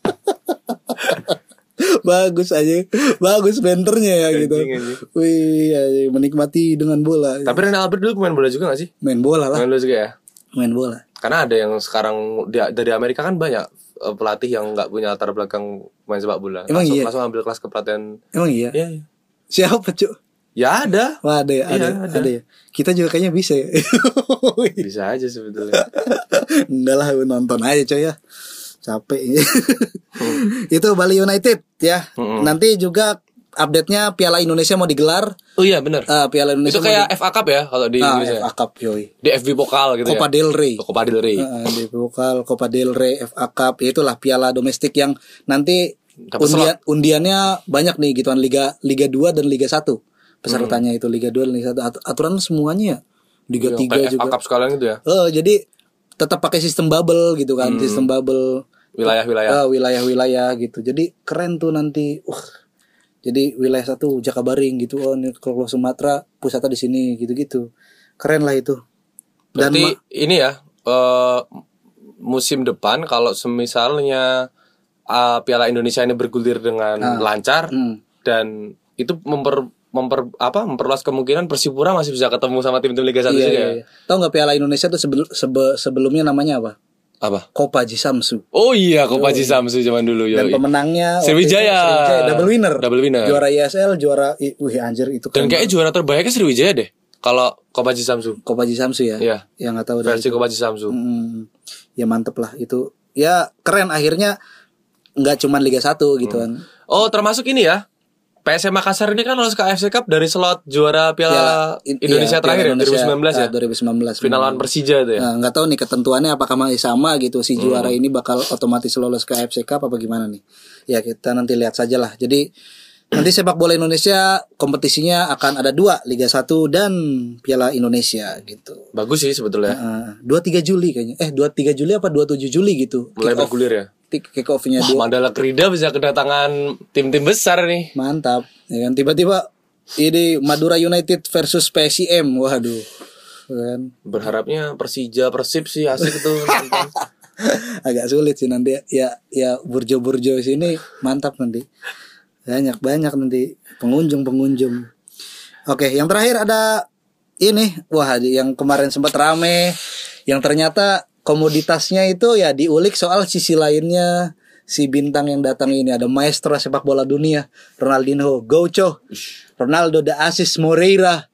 [SPEAKER 2] bagus aja bagus benternya ya gitu
[SPEAKER 1] Anjing, anjing.
[SPEAKER 2] wih anjing, menikmati dengan bola
[SPEAKER 1] Tapi Rene Albert dulu main bola juga gak sih?
[SPEAKER 2] main bola lah
[SPEAKER 1] Main bola juga ya?
[SPEAKER 2] main bola
[SPEAKER 1] Karena ada yang sekarang di- dari Amerika kan banyak eh, pelatih yang nggak punya latar belakang main sepak bola.
[SPEAKER 2] Emang
[SPEAKER 1] langsung,
[SPEAKER 2] iya?
[SPEAKER 1] langsung ambil kelas kepelatihan.
[SPEAKER 2] emang iya
[SPEAKER 1] Iya. iya.
[SPEAKER 2] siapa cuk
[SPEAKER 1] Ya ada.
[SPEAKER 2] wah ada ya ada,
[SPEAKER 1] Iya,
[SPEAKER 2] ada.
[SPEAKER 1] ada.
[SPEAKER 2] ya kita juga kayaknya bisa ya
[SPEAKER 1] Bisa aja sebetulnya.
[SPEAKER 2] enggak lah nonton aja coy ya capek itu Bali United ya
[SPEAKER 1] Mm-mm.
[SPEAKER 2] nanti juga update nya Piala Indonesia mau digelar
[SPEAKER 1] Oh iya benar.
[SPEAKER 2] Eh, Piala
[SPEAKER 1] itu
[SPEAKER 2] Indonesia
[SPEAKER 1] kayak FA Cup ya kalau di
[SPEAKER 2] mau di- Ah,
[SPEAKER 1] Inggris ya.
[SPEAKER 2] FA Cup yoi.
[SPEAKER 1] Di FB Pokal gitu
[SPEAKER 2] Copa
[SPEAKER 1] ya.
[SPEAKER 2] del Rey
[SPEAKER 1] Copa del Rey.
[SPEAKER 2] Eh, di Pokal Copa del Rey FA Cup ya itulah piala domestik yang nanti
[SPEAKER 1] Dapat
[SPEAKER 2] undian- undiannya banyak nih gituan Liga Liga 2 dan Liga 1 pesertanya itu Liga 2 dan Liga 1 At- aturan semuanya ya. Liga
[SPEAKER 1] Yang
[SPEAKER 2] 3
[SPEAKER 1] kayak FA
[SPEAKER 2] juga
[SPEAKER 1] Cup sekalian gitu ya.
[SPEAKER 2] Eh, jadi tetap pakai sistem bubble gitu kan sistem bubble
[SPEAKER 1] Wilayah-wilayah.
[SPEAKER 2] Eh, wilayah-wilayah gitu. Jadi keren tuh nanti. Uh, jadi wilayah satu Jakabaring gitu. Oh, ini kalau Sumatera pusatnya di sini gitu-gitu. Keren lah itu. Dan
[SPEAKER 1] Berarti
[SPEAKER 2] ma-
[SPEAKER 1] ini ya eh, musim depan kalau semisalnya eh, Piala Indonesia ini bergulir dengan lancar
[SPEAKER 2] Hmm.
[SPEAKER 1] dan itu memper memper apa memperluas kemungkinan Persipura masih bisa ketemu sama tim-tim Liga 1
[SPEAKER 2] iya,
[SPEAKER 1] juga
[SPEAKER 2] iya,
[SPEAKER 1] ya.
[SPEAKER 2] iya. Tahu nggak Piala Indonesia tuh sebel- sebe- sebelumnya namanya apa?
[SPEAKER 1] Apa?
[SPEAKER 2] Copa Jisamsu.
[SPEAKER 1] Oh iya, Kopaji Samsu zaman dulu ya.
[SPEAKER 2] Dan pemenangnya waktu
[SPEAKER 1] Sriwijaya.
[SPEAKER 2] itu Sriwijaya, double winner.
[SPEAKER 1] Double winner.
[SPEAKER 2] Juara ISL, juara I- wih anjir itu kan
[SPEAKER 1] Dan
[SPEAKER 2] keren.
[SPEAKER 1] kayaknya juara terbaiknya Sriwijaya deh. Kalau Kopaji Samsu.
[SPEAKER 2] Copa Jisamsu ya.
[SPEAKER 1] Iya.
[SPEAKER 2] Yang nggak tahu dari
[SPEAKER 1] Versi Kopaji Samsu.
[SPEAKER 2] Mm, ya mantep lah itu. Ya keren akhirnya nggak cuman Liga 1 gitu kan.
[SPEAKER 1] Oh, termasuk ini ya. PSM Makassar ini kan lolos ke AFC Cup dari slot juara Piala
[SPEAKER 2] In-
[SPEAKER 1] Ah, Indonesia
[SPEAKER 2] iya,
[SPEAKER 1] terakhir
[SPEAKER 2] Piala Indonesia,
[SPEAKER 1] ya 2019 ya.
[SPEAKER 2] ah, 2019.
[SPEAKER 1] Final lawan Persija itu ya. Hmm.
[SPEAKER 2] Nah, nggak tahu nih ketentuannya apakah masih sama gitu si juara ini bakal otomatis lolos ke AFC Cup apa gimana nih. Ya kita nanti lihat saja lah. Jadi nanti sepak bola Indonesia kompetisinya akan ada dua Liga 1 dan Piala Indonesia gitu.
[SPEAKER 1] Bagus sih sebetulnya.
[SPEAKER 2] Dua 23 Juli kayaknya. Eh 23 Juli apa 27 Juli gitu.
[SPEAKER 1] Mulai bergulir ya.
[SPEAKER 2] Kick kick off-nya
[SPEAKER 1] Wah,
[SPEAKER 2] dua.
[SPEAKER 1] Mandala Krida bisa kedatangan tim-tim besar nih.
[SPEAKER 2] Mantap. Ya kan tiba-tiba ini Madura United versus PSIM. Waduh. Kan.
[SPEAKER 1] Berharapnya Persija, Persib sih asik itu.
[SPEAKER 2] agak sulit sih nanti ya ya burjo-burjo sini mantap nanti banyak banyak nanti pengunjung pengunjung oke yang terakhir ada ini wah yang kemarin sempat rame yang ternyata komoditasnya itu ya diulik soal sisi lainnya si bintang yang datang ini ada maestro sepak bola dunia Ronaldinho Gaucho Ronaldo de Asis Moreira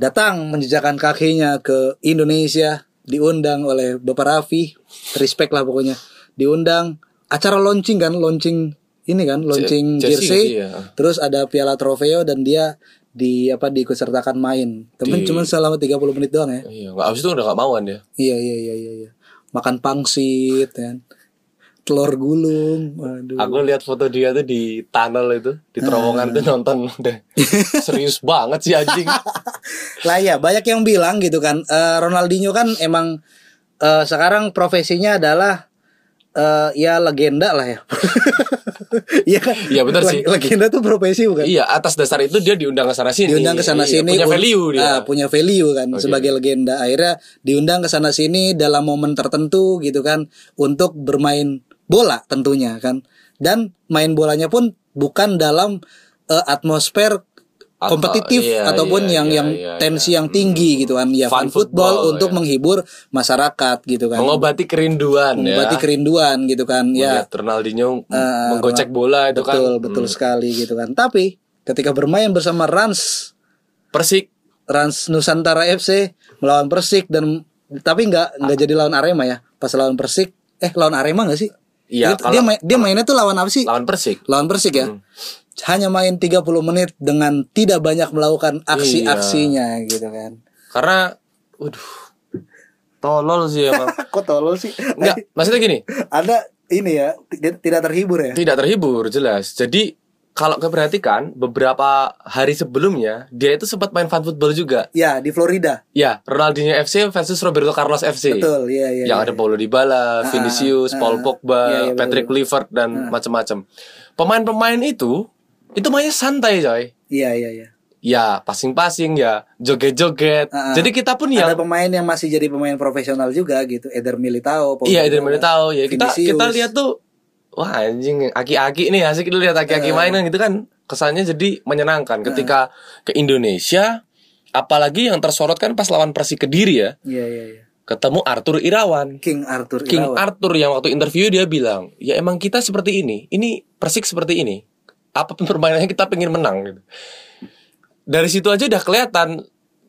[SPEAKER 2] datang menjejakkan kakinya ke Indonesia diundang oleh Bapak Raffi respect lah pokoknya diundang acara launching kan launching ini kan launching
[SPEAKER 1] jersey nggak
[SPEAKER 2] jersey
[SPEAKER 1] sih, ya?
[SPEAKER 2] terus ada piala trofeo dan dia di apa diikutsertakan main tapi
[SPEAKER 1] Di-
[SPEAKER 2] cuma selama 30 menit doang ya
[SPEAKER 1] Iya, nggak habis itu udah nggak mauan ya.
[SPEAKER 2] Iya iya iya iya. iya. Makan pangsit kan. Telur gulung. Waduh.
[SPEAKER 1] Aku lihat foto dia tuh di tunnel itu, di terowongan tuh nonton deh. Serius banget sih anjing.
[SPEAKER 2] lah ya banyak yang bilang gitu kan. Eh, Ronaldinho kan emang eh, sekarang profesinya adalah eh, ya legenda lah ya. Iya kan?
[SPEAKER 1] Iya, benar sih.
[SPEAKER 2] Leg- Legenda tuh profesi bukan?
[SPEAKER 1] iya, atas dasar itu dia diundang ke sana sini.
[SPEAKER 2] diundang ke sana
[SPEAKER 1] Iya,
[SPEAKER 2] sini
[SPEAKER 1] Punya value dia.
[SPEAKER 2] Ah, punya value kan
[SPEAKER 1] Oke.
[SPEAKER 2] sebagai legenda akhirnya diundang ke sana sini dalam momen tertentu gitu kan untuk bermain bola tentunya kan dan main bolanya pun bukan dalam eh, atmosfer
[SPEAKER 1] Atau-
[SPEAKER 2] kompetitif
[SPEAKER 1] iya,
[SPEAKER 2] ataupun
[SPEAKER 1] iya,
[SPEAKER 2] yang
[SPEAKER 1] iya,
[SPEAKER 2] yang
[SPEAKER 1] iya,
[SPEAKER 2] tensi
[SPEAKER 1] iya.
[SPEAKER 2] yang tinggi gitu kan ya
[SPEAKER 1] Fun
[SPEAKER 2] fun football,
[SPEAKER 1] football,
[SPEAKER 2] untuk
[SPEAKER 1] iya.
[SPEAKER 2] menghibur masyarakat gitu kan
[SPEAKER 1] Mengobati kerinduan
[SPEAKER 2] mengobati
[SPEAKER 1] ya.
[SPEAKER 2] kerinduan gitu kan ya
[SPEAKER 1] Melihat Ronaldinho
[SPEAKER 2] Eh,
[SPEAKER 1] menggocek bola itu
[SPEAKER 2] betul
[SPEAKER 1] kan.
[SPEAKER 2] betul sekali gitu kan tapi ketika bermain bersama Rans
[SPEAKER 1] Persik
[SPEAKER 2] Rans Nusantara FC melawan Persik dan tapi
[SPEAKER 1] Ah.
[SPEAKER 2] nggak nggak jadi lawan Arema ya pas lawan Persik eh lawan Arema nggak sih
[SPEAKER 1] Iya,
[SPEAKER 2] Dia-
[SPEAKER 1] kalau- Hmm.
[SPEAKER 2] dia, main- dia mainnya tuh lawan apa sih
[SPEAKER 1] lawan Persik.
[SPEAKER 2] lawan Persik ya hanya main 30 menit dengan tidak banyak melakukan aksi-aksinya
[SPEAKER 1] Iya.
[SPEAKER 2] gitu kan
[SPEAKER 1] Karena waduh. Tolol sih emang.
[SPEAKER 2] kok tolol sih
[SPEAKER 1] Enggak, maksudnya gini,
[SPEAKER 2] ada ini ya tidak terhibur ya
[SPEAKER 1] tidak terhibur jelas. Jadi kalau keperhatikan beberapa hari sebelumnya dia itu sempat main fun football juga.
[SPEAKER 2] ya di Florida
[SPEAKER 1] Ya, Ronaldinho FC versus Roberto Carlos FC.
[SPEAKER 2] betul ya ya
[SPEAKER 1] yang Iya. ada Paulo Dybala, Vinicius, Paul Pogba,
[SPEAKER 2] ah, Iya, iya, betul, Ah.
[SPEAKER 1] Patrick Kluivert dan macam-macam. Pemain-pemain itu itu mainnya santai, coy.
[SPEAKER 2] iya iya iya
[SPEAKER 1] Ya, passing-passing ya, joget-joget.
[SPEAKER 2] Ah, ah.
[SPEAKER 1] Jadi kita pun ya
[SPEAKER 2] ada pemain yang masih jadi pemain profesional juga gitu Eder Militao Paul
[SPEAKER 1] iya
[SPEAKER 2] Pogba,
[SPEAKER 1] dari mana tahu ya kita
[SPEAKER 2] Vinicius.
[SPEAKER 1] kita lihat tuh wah anjing aki-aki nih asik kita lihat aki-aki mainan gitu kan. Kesannya jadi menyenangkan ketika ke Indonesia apalagi yang tersorot kan pas lawan Persik Kediri ya,
[SPEAKER 2] iya iya iya
[SPEAKER 1] ketemu Arthur Irawan.
[SPEAKER 2] King Arthur
[SPEAKER 1] King
[SPEAKER 2] Irawan.
[SPEAKER 1] Arthur yang waktu interview dia bilang, ya emang kita seperti ini, ini persik seperti ini. Apapun permainannya kita pengen menang. Gitu. Dari situ aja udah kelihatan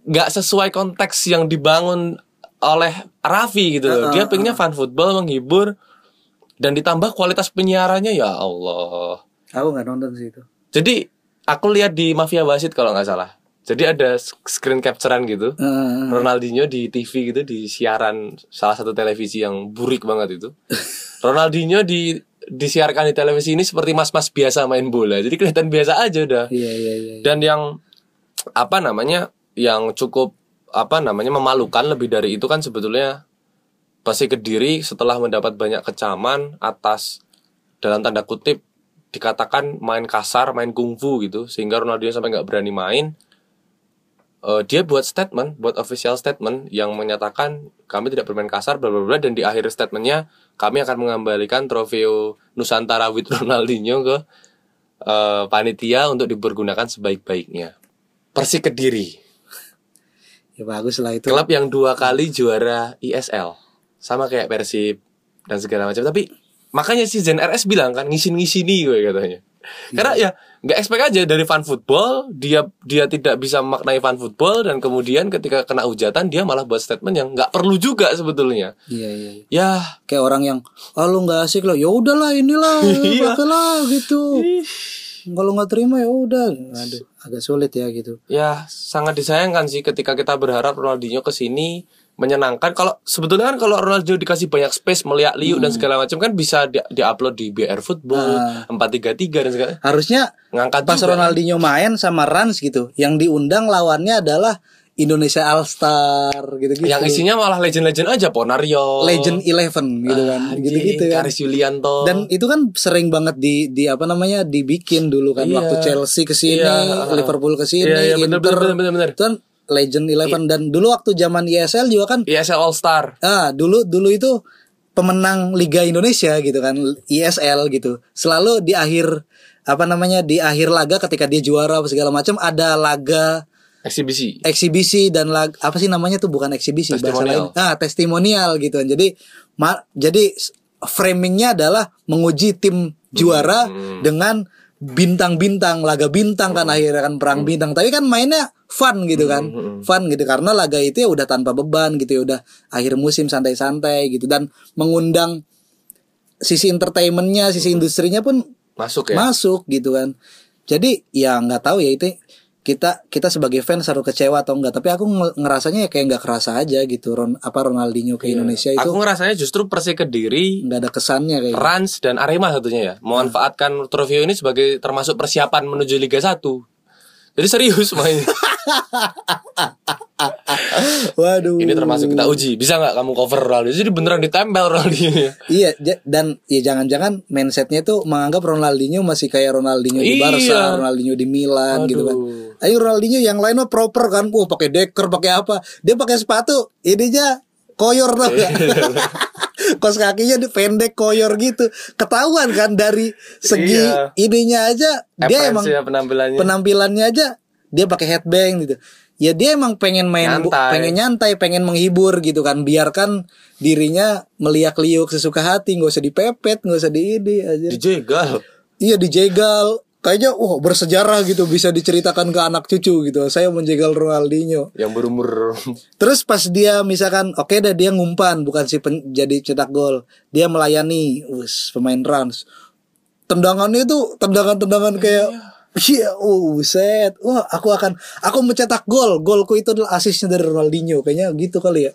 [SPEAKER 1] nggak sesuai konteks yang dibangun oleh Raffi gitu loh. Dia pengennya fun football menghibur dan ditambah kualitas penyiarannya ya Allah.
[SPEAKER 2] Aku nggak nonton sih itu.
[SPEAKER 1] Jadi aku lihat di Mafia Wasit kalau nggak salah. Jadi ada screen capturean gitu.
[SPEAKER 2] Heeh.
[SPEAKER 1] Ronaldinho di TV gitu di siaran salah satu televisi yang burik banget itu. Ronaldinho di disiarkan di televisi ini seperti mas-mas biasa main bola. Jadi kelihatan biasa aja udah.
[SPEAKER 2] iya iya iya.
[SPEAKER 1] Dan yang apa namanya? yang cukup apa namanya memalukan lebih dari itu kan sebetulnya pasti Kediri setelah mendapat banyak kecaman atas dalam tanda kutip dikatakan main kasar, main kungfu gitu sehingga Ronaldinho sampai nggak berani main. Eh, dia buat statement, buat official statement yang menyatakan kami tidak bermain kasar, bla bla bla dan di akhir statementnya kami akan mengembalikan trofeo Nusantara with Ronaldinho ke eh, panitia untuk dipergunakan sebaik-baiknya. Persik Kediri,
[SPEAKER 2] Ya bagus lah itu.
[SPEAKER 1] klub yang dua kali juara ISL, sama kayak Persib dan segala macam. Tapi makanya si Zen RS bilang kan ngisin-ngisini gue katanya. Karena ya nggak expect aja dari fan football dia dia tidak bisa memaknai fan football dan kemudian ketika kena hujatan dia malah buat statement yang nggak perlu juga sebetulnya.
[SPEAKER 2] Iya iya. iya.
[SPEAKER 1] Ya
[SPEAKER 2] Kayak orang yang, ah lu nggak asik loh, ya udahlah inilah,
[SPEAKER 1] Iya.
[SPEAKER 2] pakailah gitu. Kalau nggak terima ya udah. Aduh, agak sulit ya gitu.
[SPEAKER 1] ya sangat disayangkan sih ketika kita berharap Ronaldinho ke sini menyenangkan kalau sebetulnya kan kalau Ronaldinho dikasih banyak space melihat liu
[SPEAKER 2] Hmm.
[SPEAKER 1] dan segala macam kan bisa di, upload di BR Football 433 dan segala
[SPEAKER 2] Harusnya
[SPEAKER 1] ngangkat
[SPEAKER 2] Nah. pas
[SPEAKER 1] juga.
[SPEAKER 2] Ronaldinho main sama Rans gitu, yang diundang lawannya adalah Indonesia All Star gitu-gitu.
[SPEAKER 1] yang isinya malah legend-legend aja Ponario
[SPEAKER 2] gitu. Legend Eleven gitu kan,
[SPEAKER 1] Ah, anjing,
[SPEAKER 2] gitu-gitu kan.
[SPEAKER 1] Karis Yulianto
[SPEAKER 2] Dan itu kan sering banget di di apa namanya dibikin dulu kan
[SPEAKER 1] Iya.
[SPEAKER 2] waktu Chelsea ke sini,
[SPEAKER 1] Iya.
[SPEAKER 2] Liverpool ke sini,
[SPEAKER 1] Iya, iya, bener,
[SPEAKER 2] Inter.
[SPEAKER 1] bener, bener, bener.
[SPEAKER 2] Itu kan Legend Eleven dan dulu waktu zaman ESL juga kan
[SPEAKER 1] ESL All Star
[SPEAKER 2] ah dulu dulu itu pemenang Liga Indonesia gitu kan ISL gitu. Selalu di akhir apa namanya di akhir laga ketika dia juara apa segala macam ada laga
[SPEAKER 1] Eksibisi.
[SPEAKER 2] Eh, eksibisi dan lag, apa sih namanya tuh bukan eksibisi bahasa lain
[SPEAKER 1] Testimonial.
[SPEAKER 2] ah testimonial gitu jadi ma- jadi s- framingnya adalah menguji tim juara dengan bintang-bintang laga bintang kan akhirnya kan perang bintang tapi kan mainnya fun gitu kan fun gitu karena laga itu ya udah tanpa beban gitu ya udah akhir musim santai-santai gitu dan mengundang sisi entertainmentnya sisi industrinya pun
[SPEAKER 1] Masuk ya.
[SPEAKER 2] masuk gitu kan jadi ya nggak tahu ya itu kita kita sebagai fans harus kecewa atau enggak tapi aku nge- ngerasanya ya kayak nggak kerasa aja gitu Ron apa Ronaldinho ke Indonesia itu
[SPEAKER 1] Iya.
[SPEAKER 2] Hmm.
[SPEAKER 1] Aku ngerasanya justru Persik Kediri,
[SPEAKER 2] nggak ada kesannya kayak gitu.
[SPEAKER 1] Rans dan Arema satunya ya. Memanfaatkan trofeo ini sebagai termasuk persiapan menuju Liga 1. Jadi serius main.
[SPEAKER 2] waduh
[SPEAKER 1] ini termasuk kita uji. Bisa nggak kamu cover Ronaldo? Jadi beneran ditempel Ronaldo.
[SPEAKER 2] iya ja- dan ya jangan-jangan mindsetnya itu menganggap Ronaldinho masih kayak Ronaldinho di
[SPEAKER 1] Iya.
[SPEAKER 2] Barca Ronaldinho di Milan gitu kan
[SPEAKER 1] Aduh.
[SPEAKER 2] Ayo Ronaldinho yang lain mah proper kan, wah pakai deker, pakai apa? Dia pakai sepatu, ini aja koyor tau gak? Kos kakinya di- pendek koyor gitu, ketahuan kan dari segi
[SPEAKER 1] Iya.
[SPEAKER 2] ininya aja dia
[SPEAKER 1] Appearance
[SPEAKER 2] emang
[SPEAKER 1] ya penampilannya.
[SPEAKER 2] penampilannya aja dia pakai headband gitu. Ya dia emang pengen main, bu-
[SPEAKER 1] Nyantai.
[SPEAKER 2] pengen nyantai, pengen menghibur gitu kan. Biarkan dirinya meliak-liuk sesuka hati, nggak usah dipepet, nggak usah diidi aja.
[SPEAKER 1] Dijegal.
[SPEAKER 2] Iya dijegal Kayaknya wah bersejarah gitu Bisa diceritakan ke anak cucu gitu Saya menjegal Ronaldinho
[SPEAKER 1] Yang berumur
[SPEAKER 2] Terus pas dia misalkan Oke dah dia ngumpan Bukan si pen- jadi cetak gol Dia melayani Wus pemain trans Tendangannya itu Tendangan-tendangan kayak Iya, oh set, wah aku akan, aku mencetak gol, golku itu adalah asisnya dari Ronaldinho, kayaknya gitu kali ya.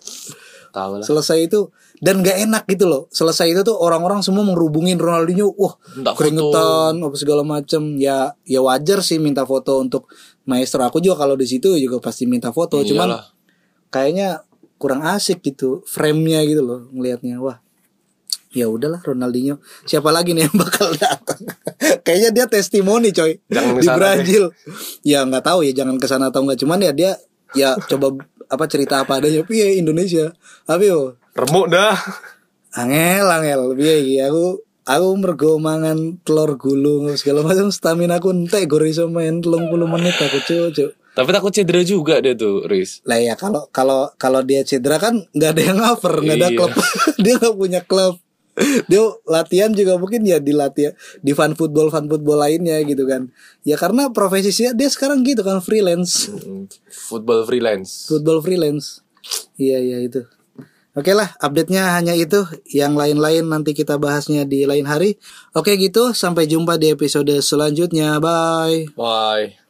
[SPEAKER 1] tahu lah.
[SPEAKER 2] Selesai itu dan gak enak gitu loh. Selesai itu tuh orang-orang semua mengerubungin Ronaldinho. Wah,
[SPEAKER 1] Minta foto.
[SPEAKER 2] keringetan apa segala macem. Ya ya wajar sih minta foto untuk maestro. Aku juga kalau di situ juga pasti minta foto. Cuman
[SPEAKER 1] Iyalah.
[SPEAKER 2] kayaknya kurang asik gitu frame-nya gitu loh ngelihatnya. Wah. Ya udahlah Ronaldinho. Siapa lagi nih yang bakal datang? kayaknya dia testimoni, coy.
[SPEAKER 1] Jangan
[SPEAKER 2] di
[SPEAKER 1] kesana
[SPEAKER 2] Brazil. Ya nggak tahu ya jangan ke sana atau enggak. Cuman ya dia ya coba apa cerita apa adanya. Iya Indonesia. Apa yo?
[SPEAKER 1] remuk dah.
[SPEAKER 2] angel angel piye iki aku aku mergo mangan telur gulung segala macam stamina aku entek gore iso main 30 menit aku cucu
[SPEAKER 1] Tapi takut cedera juga dia tuh, Riz.
[SPEAKER 2] lah ya kalau kalau kalau dia cedera kan nggak ada yang cover nggak ada
[SPEAKER 1] Iya.
[SPEAKER 2] klub dia nggak punya klub dia latihan juga mungkin ya di latihan di fan football fan football lainnya gitu kan ya karena profesinya dia sekarang gitu kan freelance
[SPEAKER 1] Mm, Football freelance.
[SPEAKER 2] football freelance iya iya itu oke lah update nya hanya itu yang lain lain nanti kita bahasnya di lain hari oke gitu sampai jumpa di episode selanjutnya bye
[SPEAKER 1] Bye.